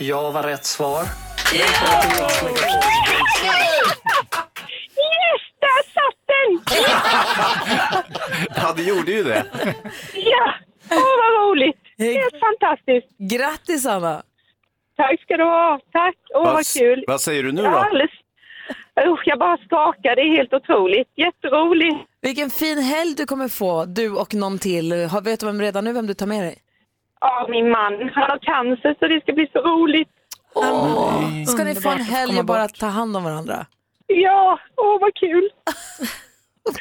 jag var rätt svar.
Yes, där satt den!
Ja, det gjorde ju det.
Ja, åh vad roligt. Helt fantastiskt.
Grattis Anna!
Tack ska du ha. Tack, åh vad kul.
Vad säger du nu
Jag, är
då?
alldeles... Usch, jag bara skakar, det är helt otroligt. Jätteroligt.
Vilken fin helg du kommer få, du och någon till. Har- Vet du vem redan nu vem du tar med dig?
Ja, min man, han har cancer så det ska bli så roligt.
Åh, Ska ni få
Underbart
en
att få
helg
komma
och bara
bort.
ta hand om varandra?
Ja, åh vad kul.
Åh,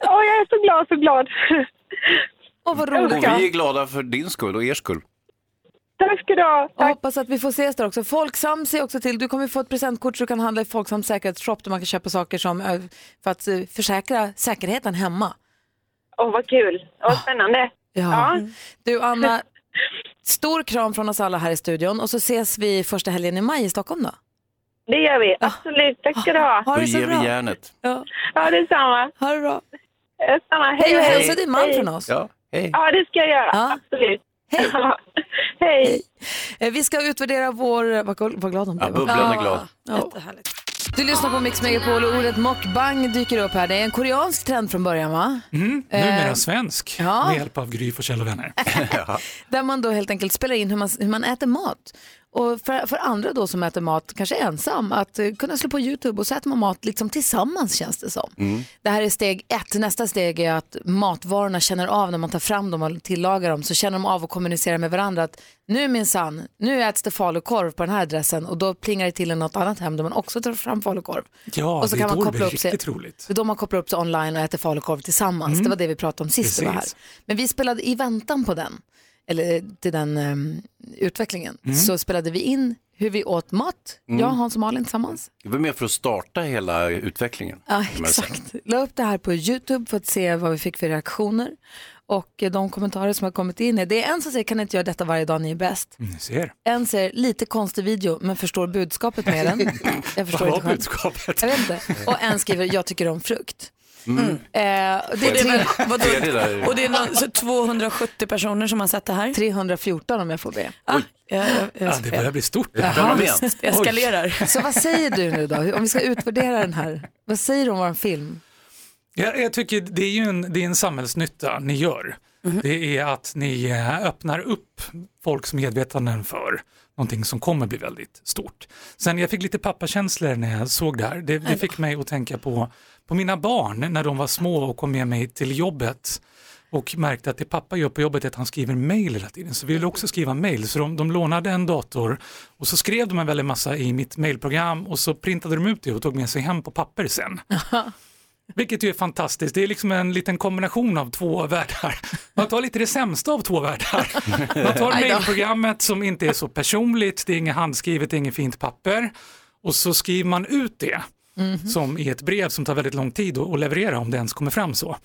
jag är så glad, så glad.
Åh, vad
Och
roligt.
vi är glada för din skull och er skull.
Tack ska du ha. Jag hoppas att vi får ses där också. Folksam ser också till. Du kommer få ett presentkort så du kan handla i Folksams säkerhetsshop där man kan köpa saker som, eh, för att eh, försäkra säkerheten hemma.
Åh, vad kul. Vad spännande.
Ah. Ja. Du Mm. Anna, stor kram från oss alla här i studion och så ses vi första helgen i maj i Stockholm då.
Det gör vi. Absolut. Tack ska du ha.
Ah. Ha
Då ger vi järnet.
Ja,
ja detsamma.
Ha det bra.
Detsamma. Hej,
Hej och
hej.
hälsa din man
Hej.
från oss.
Ja, hej.
Ja, det ska jag göra.
Ja.
Absolut.
Hej.
Hej.
Eh, Vi ska utvärdera vår... Vad gol- vad glad hon blev.
Ja, bubblan är
Ja.
glad.
Ja. Du lyssnar på Mix Megapol och ordet mukbang dyker upp här. Det är en koreansk trend från början va?
Mm, numera
Eh,
svensk
ja.
med hjälp av Gry Forssell och vänner.
Där man då helt enkelt spelar in hur man, hur man äter mat. Och för, för andra då som äter mat, kanske ensam, att eh, kunna slå på YouTube och så äter man mat liksom tillsammans känns det som. Det här är steg ett. Nästa steg är att matvarorna känner av när man tar fram dem och tillagar dem. Så känner de av och kommunicerar med varandra att nu minsann, nu äts det falukorv på den här adressen och då plingar det till i något annat hem där man också tar fram falukorv.
Ja,
och så
det är
kan
då det
man koppla
blir
upp sig.
riktigt roligt.
Det är då man kopplar upp sig online och äter falukorv tillsammans.
Mm.
Det var det vi pratade om sist vi var här.
Precis.
Men vi spelade i väntan på den, eller eh, till den ehm, utvecklingen,
Mm.
så spelade vi in hur vi åt mat,
Mm.
jag, Hans och Malin tillsammans.
Det var mer för att starta hela utvecklingen.
Ja,
kan man säga.
exakt. La upp det här på YouTube för att se vad vi fick för reaktioner. Och eh, de kommentarer som har kommit in är, det är en som säger kan inte göra detta varje dag, ni är bäst.
Mm, Ni ser.
En säger lite konstig video men förstår budskapet med den. Jag förstår
Vad
inte
var
själv.
budskapet?
Jag vet inte. Och en skriver jag tycker om frukt.
Mm.
Eh, och det
Och det är
är
väl-
tre...
vadå?
Tredje där.
Och det är någon, så 270 personer som har sett det här.
314 om jag får be.
Ah, jag, jag, jag,
Ja, det börjar bli stort.
Jaha. Det eskalerar.
Så vad säger du nu då? Om vi ska utvärdera den här. Vad säger du om vår film?
Jag, jag tycker det är ju en, det är en samhällsnytta ni gör. Det är att ni eh, öppnar upp folks medvetanden för någonting som kommer bli väldigt stort. Sen jag fick lite pappakänslor när jag såg det här. Det, det fick mig att tänka på, på mina barn när de var små och kom med mig till jobbet och märkte att det pappa gör på jobbet är att han skriver mejl hela tiden. Så vi ville också skriva mejl. Så de, de lånade en dator och så skrev de en väldig massa i mitt mejlprogram och så printade de ut det och tog med sig hem på papper sen. Vilket ju är fantastiskt. Det är liksom en liten kombination av två världar. Man tar lite det sämsta av två världar. Man tar
Aj då.
mejlprogrammet som inte är så personligt, det är inget handskrivet, det är inget fint papper och så skriver man ut det
Mm.
som i ett brev som tar väldigt lång tid att att leverera om det ens kommer fram så.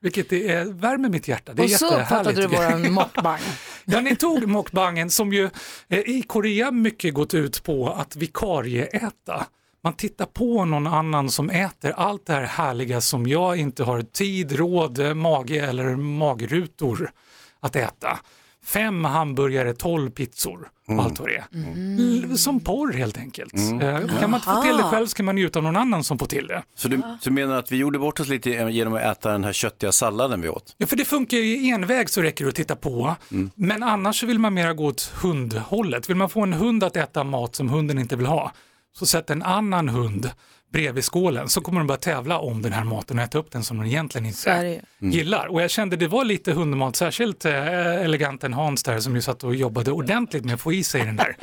Vilket det är, värmer mitt hjärta. Det är
Och så
jättehärligt
uppfattade du
tycker jag.
våran mukbang.
ja, ni tog mukbangen som ju eh, i Korea mycket gått ut på att vikarieäta. Man tittar på någon annan som äter allt det här härliga som jag inte har tid, råd, eh, mage eller magrutor att äta. Fem hamburgare, tolv pizzor och allt vad det är. L- Som porr helt enkelt. Eh, Kan man inte få till det
Aha.
själv så kan man njuta av någon annan som får till det.
Så du, du menar att vi gjorde bort oss lite genom att äta den här köttiga salladen vi åt?
Ja, för det funkar ju i enväg så räcker det att titta på. Men annars så vill man mera gå åt hundhållet. Vill man få en hund att äta mat som hunden inte vill ha, så sätt en annan hund bredvid skålen så kommer de börja tävla om den här maten och äta upp den som de egentligen
Så
inte
är det ju.
gillar. Och jag kände det var lite hundmat, särskilt eh, eleganten Hans där som ju satt och jobbade ordentligt med att få i sig den där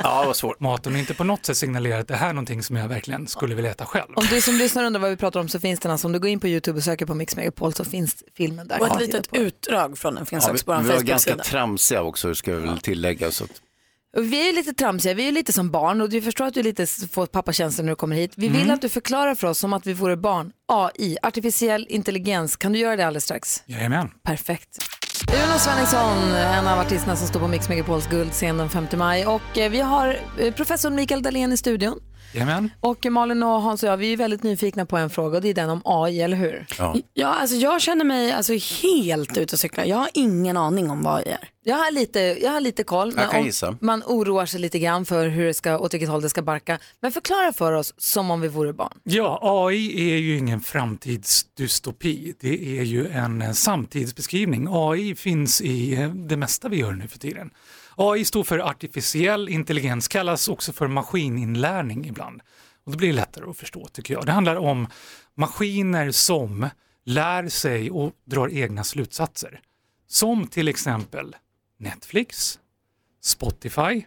maten och inte på något sätt signalerat att det här är någonting som jag verkligen skulle vilja äta själv.
Om du som lyssnar undrar vad vi pratar om så finns den alltså, om du går in på YouTube och söker på Mix Megapol så finns filmen där.
och ett litet utdrag från den finns
Ja, vi,
också på vår
vi var ganska
Facebook-sida.
tramsiga också ska jag väl tillägga. Så att,
Och vi är ju lite tramsiga, vi är ju lite som barn och du förstår att du lite s- får pappakänslor när du kommer hit. Vi vill
Mm.
att du förklarar för oss som att vi vore barn. AI, artificiell intelligens, kan du göra det alldeles strax?
Jajamän.
Perfekt. Jonas Svenningsson, en av artisterna som står på Mix Megapols guldscen den 5 maj. Och eh, vi har eh, professor Mikael Dahlén i studion.
Jajamän.
Och eh, Malin och Hans och jag, vi är ju väldigt nyfikna på en fråga och det är den om AI, eller hur?
Ja.
Ja, alltså jag känner mig alltså helt ute och cyklar. Jag har ingen aning om vad jag är.
Jag har lite, jag har lite koll.
Jag kan
om-
gissa.
Man oroar sig lite grann för hur det ska, åt vilket håll det ska barka. Men förklara för oss som om vi vore barn.
Ja, AI är ju ingen framtidsdystopi. Det är ju en eh, samtidsbeskrivning. AI finns i eh, det mesta vi gör nu för tiden. AI står för artificiell intelligens, kallas också för maskininlärning ibland. Och det blir lättare att förstå tycker jag. Det handlar om maskiner som lär sig och drar egna slutsatser. Som till exempel Netflix, Spotify,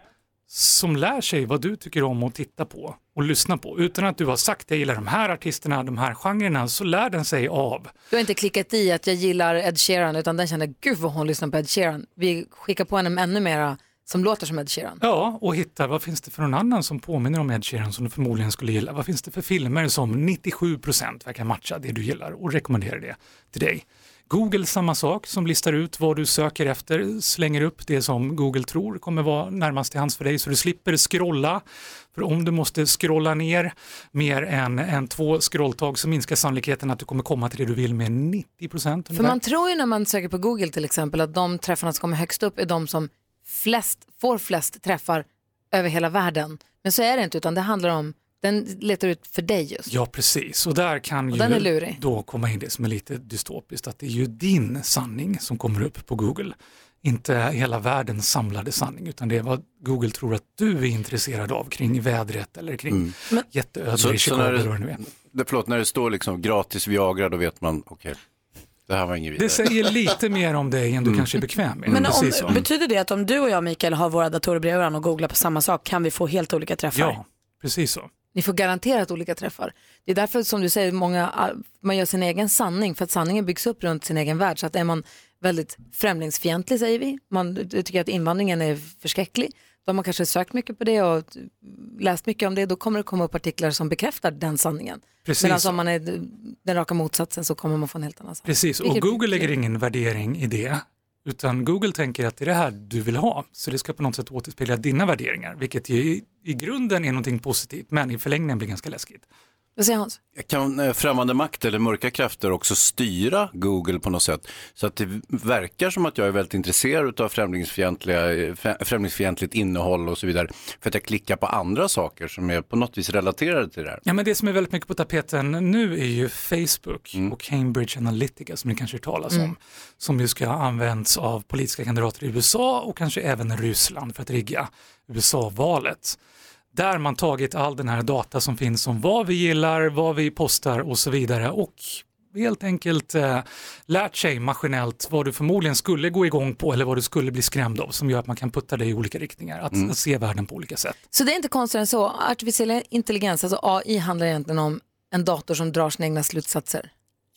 som lär sig vad du tycker om att titta på och lyssna på. Utan att du har sagt jag gillar de här artisterna, de här genrerna, så lär den sig av.
Du har inte klickat i att jag gillar Ed Sheeran utan den känner gud vad hon lyssnar på Ed Sheeran. Vi skickar på henne ännu mera som låter som Ed Sheeran.
Ja, och hitta vad finns det för någon annan som påminner om Ed Sheeran som du förmodligen skulle gilla. Vad finns det för filmer som 97% verkar matcha det du gillar och rekommenderar det till dig. Google samma sak som listar ut vad du söker efter, slänger upp det som Google tror kommer vara närmast till hands för dig så du slipper scrolla. För om du måste scrolla ner mer än, än två scrolltag så minskar sannolikheten att du kommer komma till det du vill med 90 procent.
För man tror ju när man söker på Google till exempel att de träffarna som kommer högst upp är de som flest, får flest träffar över hela världen. Men så är det inte utan det handlar om, den letar ut för dig just.
Ja, precis. Och där kan
Och
ju
den är lurig.
då komma in det som är lite dystopiskt, att det är ju din sanning som kommer upp på Google. Inte hela världens samlade sanning, utan det är vad Google tror att du är intresserad av
Mm.
kring vädret eller kring
Mm.
jätteödlor i Chicago
när
eller vad det nu är.
det, det, förlåt, när det står liksom gratis Viagra då vet man, okej, det här var inget vidare.
Det säger lite mer om dig än du
Mm.
kanske är bekväm med.
Men
Precis så.
om, betyder det att om du och jag Mikael har våra datorer bredvid varandra och googlar på samma sak kan vi få helt olika träffar?
Ja, precis så.
Ni får garanterat olika träffar. Det är därför som du säger, många, man gör sin egen sanning för att sanningen byggs upp runt sin egen värld. Så att är man väldigt främlingsfientlig säger vi, man tycker att invandringen är förskräcklig, då har man kanske sökt mycket på det och läst mycket om det, då kommer det komma upp artiklar som bekräftar den sanningen.
Precis.
Medan om man är den raka motsatsen så kommer man få en helt annan sanning.
Precis, och
alltså. Vilket-
Google lägger ingen värdering i det, utan Google tänker att det är det här du vill ha, så det ska på något sätt återspegla dina värderingar, vilket ju i, i grunden är någonting positivt, men i förlängningen blir ganska läskigt.
Vad säger Hans?
Kan eh, främmande makt eller mörka krafter också styra Google på något sätt? Så att det verkar som att jag är väldigt intresserad av främlingsfientliga, eh, frä- främlingsfientligt innehåll och så vidare. För att jag klickar på andra saker som är på något vis relaterade till det här.
Ja, men det som är väldigt mycket på tapeten nu är ju Facebook och Cambridge Analytica som ni kanske hört talas om,
Mm.
som ju ska ha använts av politiska kandidater i USA och kanske även Ryssland för att rigga USA-valet. Där man tagit all den här data som finns om vad vi gillar, vad vi postar och så vidare och helt enkelt eh, lärt sig maskinellt vad du förmodligen skulle gå igång på eller vad du skulle bli skrämd av som gör att man kan putta dig i olika riktningar, att, att se världen på olika sätt.
Så det är inte konstigt än så, artificiell intelligens, alltså AI handlar egentligen om en dator som drar sina egna slutsatser.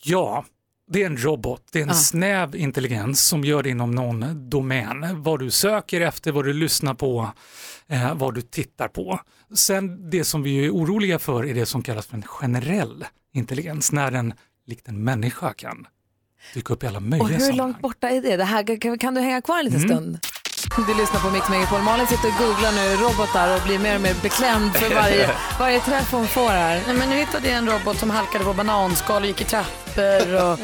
Ja, det är en robot. Det är en
Ja.
snäv intelligens som gör det inom någon domän. Vad du söker efter, vad du lyssnar på, eh, vad du tittar på. Sen det som vi är oroliga för är det som kallas för en generell intelligens, när den likt en människa kan dyka upp i alla möjliga
Och hur
sammanhang.
långt borta är det? det här, kan, kan du hänga kvar en liten
Mm.
stund? Du lyssnar på Mix Megapol. Malin sitter och googlar nu robotar och blir mer och mer beklämd för varje, varje träff hon får här.
Nej, men nu hittade jag en robot som halkade på bananskal och gick i trappor och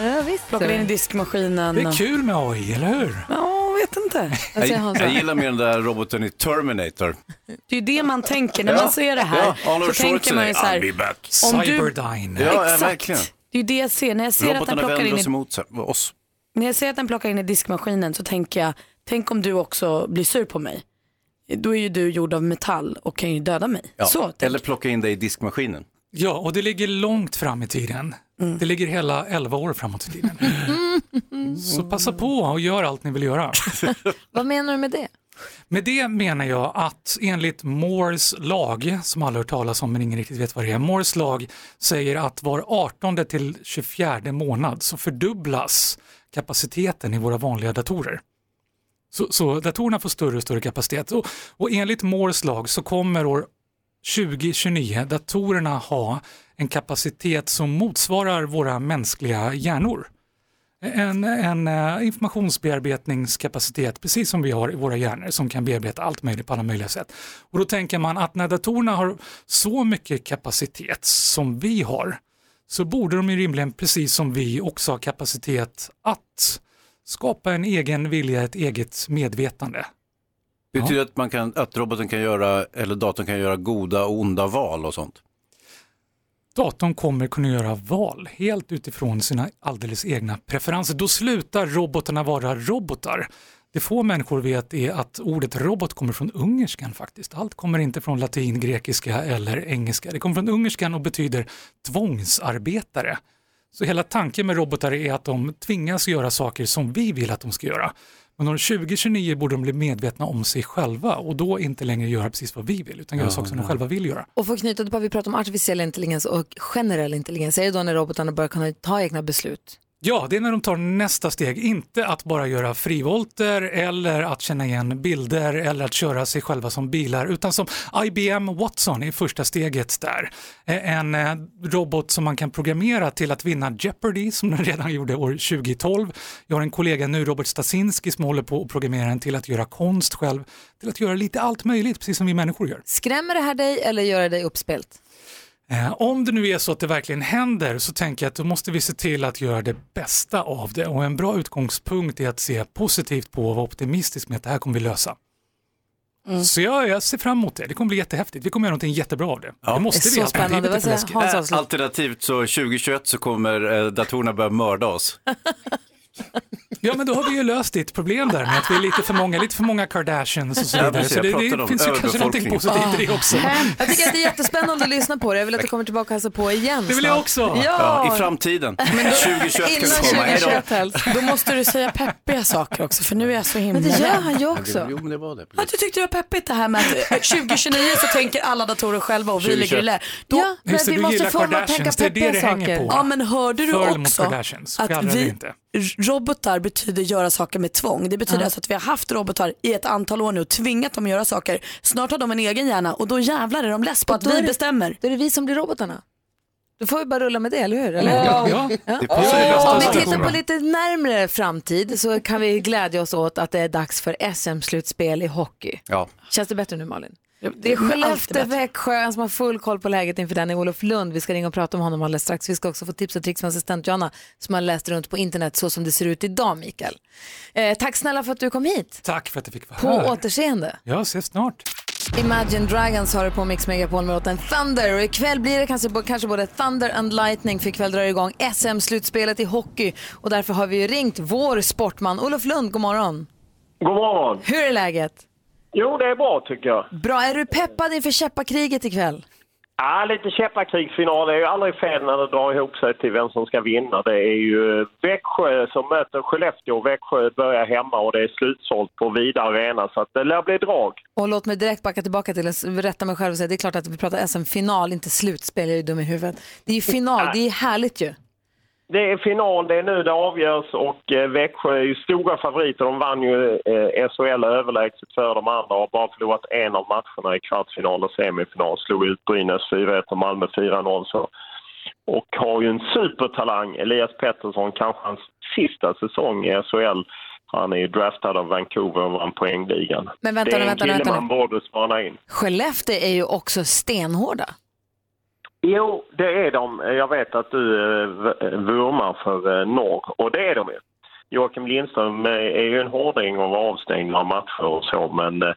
plockade in i diskmaskinen.
Det är
och-
kul med AI, eller hur?
Ja, vet inte.
Jag, jag gillar mer den där roboten i Terminator.
Det är ju det man tänker när
Ja,
man ser det här.
ja, Arnold
så tänker man ju så här.
Schwarzenegger, I'll be back.
om du-
Cyberdyne. Ja, ja,
Exakt.
verkligen.
Det är ju det jag ser. När jag ser, att den
Robotarna
plockar
vänder
in
oss
i,
emot sig- oss.
när jag ser att den plockar in i diskmaskinen så tänker jag, tänk om du också blir sur på mig. Då är ju du gjord av metall och kan ju döda mig.
Ja.
Så.
Eller plocka in dig i diskmaskinen.
Ja, och det ligger långt fram i tiden.
Mm.
Det ligger hela 11 år framåt i tiden. Så passa på och gör allt ni vill göra.
Mm. Vad menar du med det?
Med det menar jag att enligt Moores lag, som alla har hört talas om men ingen riktigt vet vad det är, Moores lag säger att var 18 till 24 månad så fördubblas kapaciteten i våra vanliga datorer. Så, så datorerna får större och större kapacitet och, och enligt Moores lag så kommer år 2029 datorerna ha en kapacitet som motsvarar våra mänskliga hjärnor en, en eh, informationsbearbetningskapacitet, precis som vi har i våra hjärnor, som kan bearbeta allt möjligt på alla möjliga sätt. Och då tänker man att när datorerna har så mycket kapacitet som vi har, så borde de ju rimligen, precis som vi, också ha kapacitet att skapa en egen vilja, ett eget medvetande.
Det betyder att, man kan, att roboten kan göra, eller datorn kan göra goda och onda val och sånt.
Datorn kommer kunna göra val helt utifrån sina alldeles egna preferenser. Då slutar robotarna vara robotar. Det få människor vet är att ordet robot kommer från ungerskan faktiskt. Allt kommer inte från latin, grekiska eller engelska. Det kommer från ungerskan och betyder tvångsarbetare. Så hela tanken med robotar är att de tvingas göra saker som vi vill att de ska göra. Men år 2029 borde de bli medvetna om sig själva och då inte längre göra precis vad vi vill utan göra
Ja,
saker som
ja.
de själva vill göra.
Och för att knyta tillbaka, vi pratar om artificiell intelligens och generell intelligens. Är det då när robotarna börjar kunna ta egna beslut?
Ja, det är när de tar nästa steg, inte att bara göra frivolter eller att känna igen bilder eller att köra sig själva som bilar, utan som IBM Watson är första steget där. Eh, En eh, robot som man kan programmera till att vinna Jeopardy som den redan gjorde år 2012. Jag har en kollega nu, Robert Stasinski, som håller på att programmera den till att göra konst själv, till att göra lite allt möjligt, precis som vi människor gör.
Skrämmer det här dig eller gör det dig uppspelt?
Eh, Om det nu är så att det verkligen händer så tänker jag att då måste vi se till att göra det bästa av det och en bra utgångspunkt är att se positivt på och vara optimistisk med att det här kommer vi lösa. Så jag, jag ser fram emot det, det kommer bli jättehäftigt, vi kommer göra någonting jättebra av det. Det måste vi, alternativet är för läskigt.
Äh, Alternativt så 2021 så kommer eh, datorerna börja mörda oss.
Ja men då har vi ju löst ditt problem där med att vi är lite för många, lite för många Kardashians och så
Ja,
vidare.
precis,
så
jag
det,
pratade
det
om
finns ju kanske någonting
överbefolkning.
positivt i det också.
Jag tycker att det är jättespännande att lyssna på det. Jag vill att du kommer tillbaka och hälsar på igen
Det vill jag
snart.
också.
Ja.
Ja, i framtiden. 2021 kan det komma. Hej då.
Då måste du säga peppiga saker också för nu är jag så himla
Men det gör
rädd.
han ju också.
Jo, men det var det.
Ja, du tyckte det var peppigt det här med att 2029 så tänker alla datorer själva och vi
2021.
ligger i lä. Då-
Ja, men
Just det,
vi
du
måste
gillar
få dem att tänka
Kardashians, det är det
peppiga
det hänger
saker.
på.
Ja men hörde du
Förr mot
också
Kardashians,
att
fjärran
vi,
inte.
robotar betyder göra saker med tvång. Det betyder
Ja.
alltså att vi har haft robotar i ett antal år nu och tvingat dem att göra saker. Snart har de en egen hjärna och då jävlar är de less på att
då är
vi
det-
bestämmer.
Då är det vi som blir robotarna. Då får vi bara rulla med det, eller hur? Eller?
Ja. Ja. Det passar ju bäst
Om
att
vi
säga
tittar
så.
på lite närmre framtid så kan vi glädja oss åt att det är dags för SM-slutspel i hockey.
Ja.
Känns det bättre nu Malin?
det
Det
är
är
alltid
Skellefteå,
bättre.
Växjö, som har full koll på läget inför den i Olof Lund. Vi ska ringa och prata om honom alldeles strax. Vi ska också få tips och tricks från assistent Johanna som har läst runt på internet så som det ser ut idag, Mikael. Eh, tack snälla för att du kom hit.
Tack för att du fick vara
På
här.
återseende.
Jag ses snart.
Imagine Dragons har det på Mix Megapol med låten Thunder och ikväll blir det kanske, kanske både Thunder and Lightning för ikväll drar det igång SM-slutspelet i hockey och därför har vi ju ringt vår sportman Olof Lund, god morgon.
God morgon.
Hur är läget?
Jo, det är bra tycker jag.
Bra, är du peppad inför käppakriget ikväll?
Ja, lite käppakrigsfinal är ju aldrig fel när det drar ihop sig till vem som ska vinna. Det är ju Växjö som möter Skellefteå. Växjö börjar hemma och det är slutsålt på Vida Arena så att det lär bli drag.
Och låt mig direkt backa tillbaka till att rätta mig själv och säga det är klart att vi pratar SM-final, inte slutspel, jag är ju dum i huvudet. Det är ju final, det är ju härligt ju.
Det är final, det är nu det avgörs och eh, Växjö är ju stora favoriter. De vann ju eh, SHL överlägset före de andra och har bara förlorat en av matcherna i kvartsfinal och semifinal. Slog ut Brynäs 4-1 och Malmö 4-0. Så. Och har ju en supertalang, Elias Pettersson, kanske hans sista säsong i SHL. Han är ju draftad av Vancouver och vann poängligan.
Men
det
vänta
är
nu,
en
vänta nu,
kille
vänta
man
nu.
borde spana in.
Skellefteå är ju också stenhårda.
Jo, det är de. Jag vet att du eh, v- vurmar för eh, norr och det är de ju. Joakim Lindström eh, är ju en hårding och var avstängd några matcher och så men eh,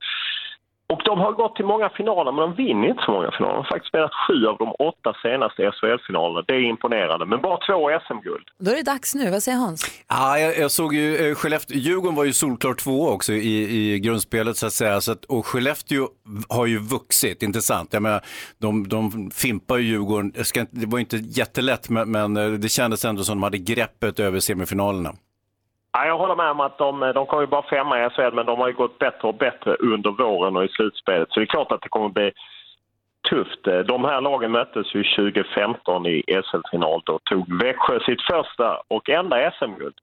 och de har gått till många finaler, men de vinner inte så många finaler. De har faktiskt spelat sju av de åtta senaste SHL-finalerna. Det är imponerande, men bara två SM-guld.
Då är det dags nu, vad säger Hans?
Ja, jag, jag såg ju, eh, Skellefteå, Djurgården var ju solklar två också i, i grundspelet så att säga. Så att, och Skellefteå har ju vuxit, intressant. Jag menar, de, de fimpar ju Djurgården, jag ska, inte- det var ju inte jättelätt men, men eh, det kändes ändå som de hade greppet över semifinalerna.
Ja, jag håller med om att de, de kom ju bara femma i SHL, men de har ju gått bättre och bättre under våren och i slutspelet. Så det är klart att det kommer bli tufft. De här lagen möttes ju 2015 i SL-final. Då tog Växjö sitt första och enda SM-guld.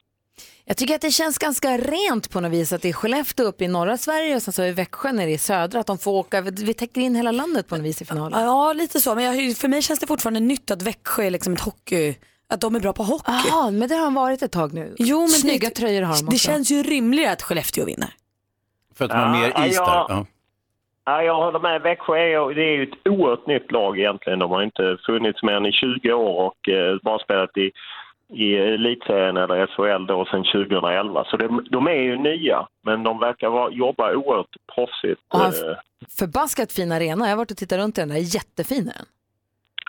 Jag tycker att det känns ganska rent på något vis att det är Skellefteå uppe i norra Sverige och sen så är Växjö nere i södra, att de får åka, vi täcker in hela landet på något vis i finalen.
Ja lite så men jag, för mig känns det fortfarande nytt att Växjö är liksom ett hockey, att de är bra på hockey.
Ja, men det har de varit ett tag nu.
Jo, men
Snygga
det,
tröjor har de också.
Det känns ju rimligare att Skellefteå vinner.
För att de har mer is där.
ja.
Ja.
Ja, jag håller med. Växjö är, det är ju ett oerhört nytt lag egentligen. De har inte funnits mer än i 20 år och eh, bara spelat i, i elitserien eller SHL då sedan 2011. Så de, de är ju nya, men de verkar vara, jobba oerhört proffsigt.
Och han-
eh,
Förbaskat fin arena, jag har varit och tittat runt i den där, jättefin är den.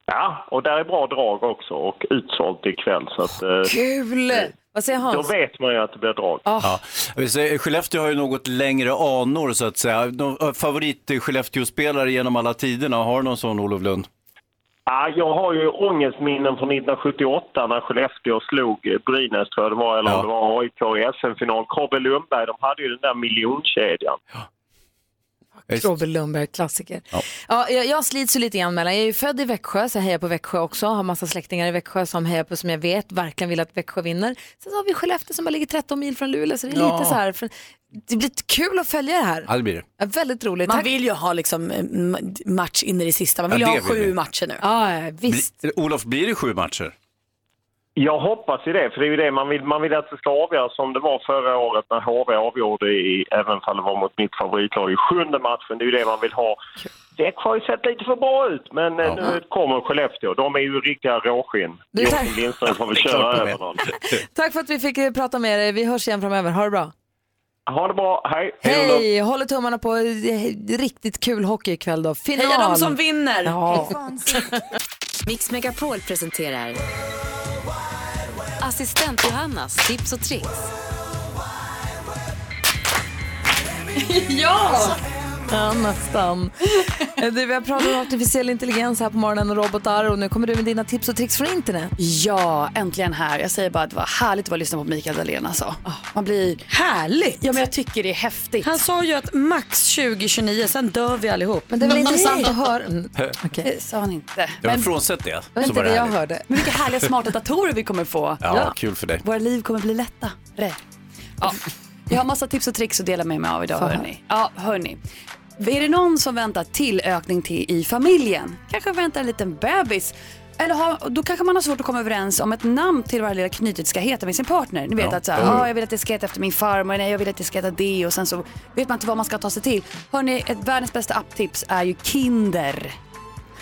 Ja, och där är bra drag också och utsålt ikväll. Så att, eh,
Kul! Vad säger
Då
Hans?
vet man ju att det blir drag.
Ja. Jag vill
eh,
säga, Skellefteå har ju något längre anor så att säga. De, favorit eh, Skellefteå-spelare genom alla tiderna, har du någon sån Olof Lund?
Ja, jag har ju ångestminnen från 1978 när Skellefteå slog eh, Brynäs, tror jag det var, eller om det var AIK i SM-final. Kobbe Lundberg, de hade ju den där miljonkedjan.
Robert Lundberg, klassiker. Ja. jag, jag slits ju lite grann mellan, jag är ju född i Växjö så jag hejar på Växjö också, har massa släktingar i Växjö som hejar på som jag vet verkligen vill att Växjö vinner. Sen så har vi Skellefteå som bara ligger 13 mil från Luleå så det är
Ja.
lite så här, för, det blir kul att följa det här.
Ja, det blir det.
Ja, väldigt roligt.
Man
Tack.
vill ju ha liksom eh, ma- match in i det sista. Man vill
Ja,
ju
det
ha
vill
sju
vi.
matcher nu.
Ja,
Bli, eh, Olof, blir det sju matcher?
Jag hoppas ju det, för det är ju det man vill. Man vill att det ska avgöras som det var förra året när HV avgjorde, i, även om det var mot mitt favoritlag, i sjunde matchen. Det är ju det man vill ha. Växjö har ju sett lite för bra ut, men eh, nu kommer Skellefteå. De är ju riktiga råskinn.
Du,
Joakim
tack.
Lindström får väl
Det är
köra
klart de är.
över dem.
Tack för att vi fick eh, prata med dig, vi hörs igen framöver, ha det bra.
Ha det bra, hej!
Hej, håller tummarna på eh, riktigt kul hockey ikväll då. Final.
Heja de som vinner!
Ja.
Mix Megapol presenterar Assistent Johannas tips och tricks.
ja! Ja, nästan. Eh, du, vi har pratat om artificiell intelligens här på morgonen och robotar och nu kommer du med dina tips och tricks från internet.
Ja, äntligen här. Jag säger bara att det var härligt att bara lyssna på Mikael Dahlén alltså. Man blir... Härligt! Ja, men jag tycker det är häftigt. Han sa ju att max 2029, sen dör vi allihop.
Men det är väl intressant att höra. Mm,
Det sa han inte.
Ja, men frånsett det.
var
så
inte
var
det jag
härligt.
hörde.
Men vilka härliga smarta datorer vi kommer få.
Ja, kul för dig.
Våra liv kommer bli lättare. Ja. Jag har massa tips och tricks att dela med mig av idag.
Fan.
Hörni. Ja, hörni. Är det någon som väntar tillökning till i familjen? Kanske väntar en liten bebis? Eller har, då kanske man har svårt att komma överens om ett namn till vad det lilla knytet ska heta med sin partner. Ni vet
Ja.
att så här,
Mm.
"Ah, jag vill att det ska heta efter min farmor, nej jag vill att det ska heta det och sen så vet man inte vad man ska ta sig till. Hörni, ett världens bästa apptips är ju Kinder.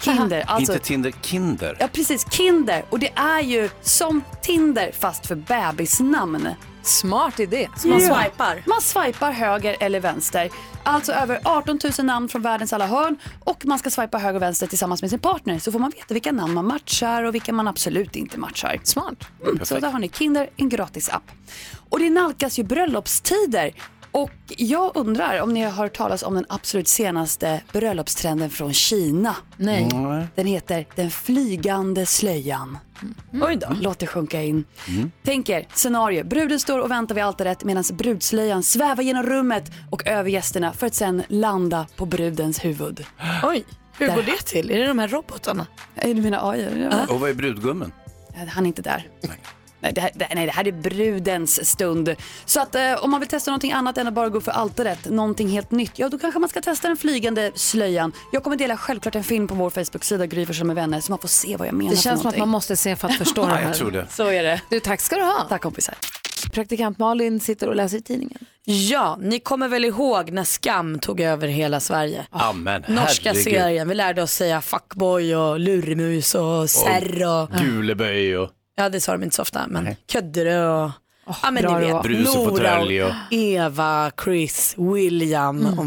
Kinder, alltså
Inte Tinder, Kinder.
Ja, precis. Kinder. Och det är ju som Tinder fast för bebisnamn.
Smart idé.
Så man
Ja.
swipar. Man swipar höger eller vänster. Alltså över 18 000 namn från världens alla hörn och man ska swipa höger och vänster tillsammans med sin partner så får man veta vilka namn man matchar och vilka man absolut inte matchar. Smart. Mm, så
Perfekt.
där har ni Kinder, en gratis app. Och det nalkas ju bröllopstider och jag undrar om ni har hört talas om den absolut senaste bröllopstrenden från Kina.
Nej.
Mm. Den heter den flygande slöjan. Mm. Oj då. Låt det sjunka in. Tänk er scenario. Bruden står och väntar vid altaret medan brudslöjan svävar genom rummet och över gästerna för att sen landa på brudens huvud. Oj,
hur går det
till? Är det de här robotarna? Du menar AI? Ja.
Och vad är brudgummen?
Han är inte där. Nej det, här, det, nej, det här är brudens stund. Så att eh, om man vill testa någonting annat än att bara gå för altaret, någonting helt nytt, ja då kanske man ska testa den flygande slöjan. Jag kommer dela självklart en film på vår Facebook-sida Gry Forssell med vänner, så man får se vad jag menar
Det
för
känns som att
någonting.
man måste se för att förstå det
Ja,
här.
jag tror det.
Så är det. Du, tack ska du ha.
Tack kompisar.
Praktikant Malin sitter och läser i tidningen.
Ja, ni kommer väl ihåg när Skam tog över hela Sverige?
Amen,
Norska
herregud.
serien, vi lärde oss säga fuckboy och lurmus och serr och...
Guleböj och...
Ja det sa de inte så ofta, men Ködderö och... ja men
bra
ni
det var.
vet,
Brus och fåtölj och-
Eva, Chris, William. Och...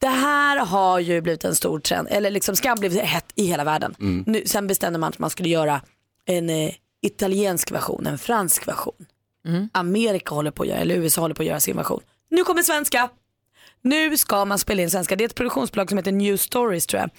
Det här har ju blivit en stor trend, eller liksom skam blev hett i hela världen.
Mm.
Nu, sen bestämde man att man skulle göra en eh, italiensk version, en fransk version. Amerika håller på att göra, eller USA håller på att göra sin version. Nu kommer svenska. Nu ska man spela in svenska. Det är ett produktionsbolag som heter New Stories tror jag,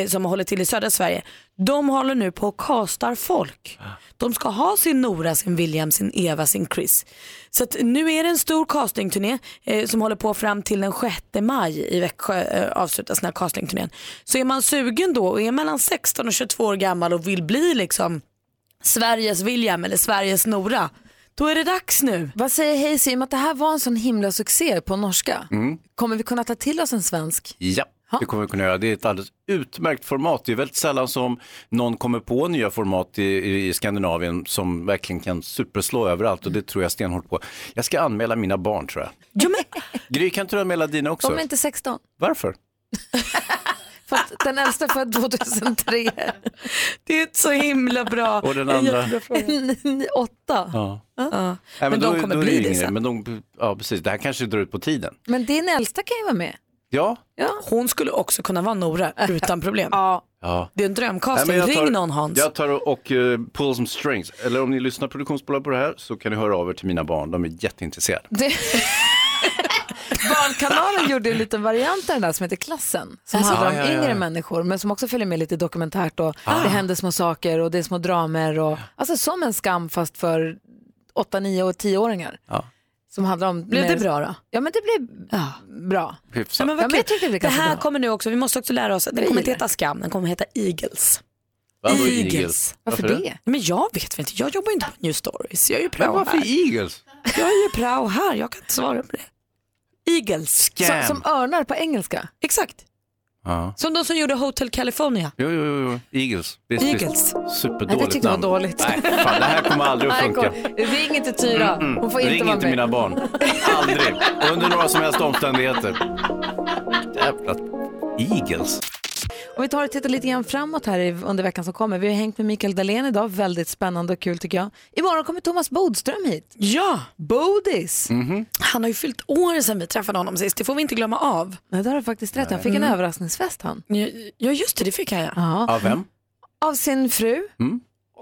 eh, som håller till i södra Sverige. De håller nu på och castar folk. De ska ha sin Nora, sin William, sin Eva, sin Chris. Så att nu är det en stor castingturné eh, som håller på fram till den 6 maj i Växjö eh, avslutas den här castingturnén. Så är man sugen då och är mellan 16 och 22 år gammal och vill bli liksom Sveriges William eller Sveriges Nora, då är det dags nu.
Vad säger Hayes i och med att det här var en sån himla succé på norska?
Mm.
Kommer vi kunna ta till oss en svensk?
Ja, det kommer vi kunna göra. Det är ett alldeles utmärkt format. Det är väldigt sällan som någon kommer på nya format i, i Skandinavien som verkligen kan superslå överallt och det tror jag stenhårt på. Jag ska anmäla mina barn tror jag. Gry, kan inte du anmäla dina också?
De är inte 16.
Varför?
För att den äldsta är född 2003.
Det är ett så himla bra.
Och den andra?
Åtta.
Ja.
Ja.
Nej,
Men
då-
de kommer
då är
bli
ju
det
yngre,
sen.
Men de, ja, precis. Det här kanske drar ut på tiden.
Men din äldsta kan ju vara med.
Ja.
Hon skulle också kunna vara Nora utan problem.
ja.
Det är en drömcasting.
Nej, men jag
Ring någon Hans.
Jag tar och, och eh, pull some strings. Eller om ni lyssnar produktionsbolag på det här så kan ni höra av er till mina barn. De är jätteintresserade.
Det... Barnkanalen gjorde en liten variant av den där som heter Klassen. Som
Alltså,
handlar om
ja, ja, ja.
yngre människor men som också följer med lite dokumentärt och
Ah.
det händer små saker och det är små dramer. Och, alltså som en skam fast för 8, 9 och 10-åringar. Som handlar om...
Blev det bra då?
Ja men det blev bra.
Ja,
Hyfsat.
men vad
Ja, men
kul.
jag tyckte det blev
det
ganska
här
bra.
kommer nu också, vi måste också lära oss, den kommer inte heta Skam, den kommer heta Eagles.
Vadå Eagles?
Varför,
Varför
det?
det?
Men jag vet väl inte, jag jobbar ju inte på New Stories, jag är ju
Men
prao
varför
här.
Eagles?
Jag är ju prao här, jag kan inte svara på det. Eagles.
Scam. Som-
örnar på engelska?
Exakt,
Ja.
som de som gjorde Hotel California.
Jo, jo, jo, jo. Eagles. Det är
Eagles.
Superdåligt
Nej, det tyckte jag var
namn.
dåligt.
Nej, fan, det Mm, här kommer aldrig att
Nej,
funka.
kom. Ring inte Tyra,
Mm-mm.
hon får inte
Ring
vara
inte
med.
mina barn. Aldrig. Under några som helst omständigheter. Jävla Eagles.
Om vi tar och tittar lite grann framåt här i- under veckan som kommer. Vi har hängt med Mikael Dahlén idag, väldigt spännande och kul tycker jag. Imorgon kommer Thomas Bodström hit.
Ja!
Bodis!
Han har ju fyllt år sedan vi träffade honom sist, det får vi inte glömma av.
Nej, det har du faktiskt rätt i. Han fick en
Mm.
överraskningsfest han.
Ja just det, det fick han ja.
Ja.
Av vem?
Av sin fru,
Mm.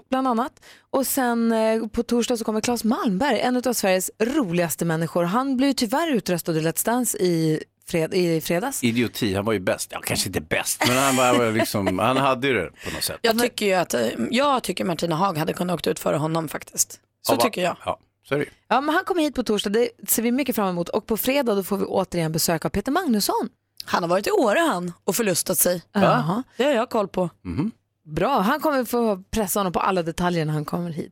bland annat. Och sen eh, på torsdag så kommer Claes Malmberg, en av Sveriges roligaste människor. Han blev ju tyvärr utröstad ur Let's Dance i, fred i fredags.
Idioti, han var ju bäst. Ja, kanske inte bäst, men han, var liksom, han hade ju det på något sätt.
Jag tycker ju att, eh, jag tycker Martina Haag hade kunnat åkt ut före honom faktiskt. Så
Ja, va-
tycker jag.
Ja, så är det ju.
Ja, men han kommer hit på torsdag, det ser vi mycket fram emot. Och på fredag då får vi återigen besök av Peter Magnusson.
Han har varit i Åre han och förlustat sig.
Jaha.
Det har jag koll på.
Bra, han kommer få pressa honom på alla detaljer när han kommer hit.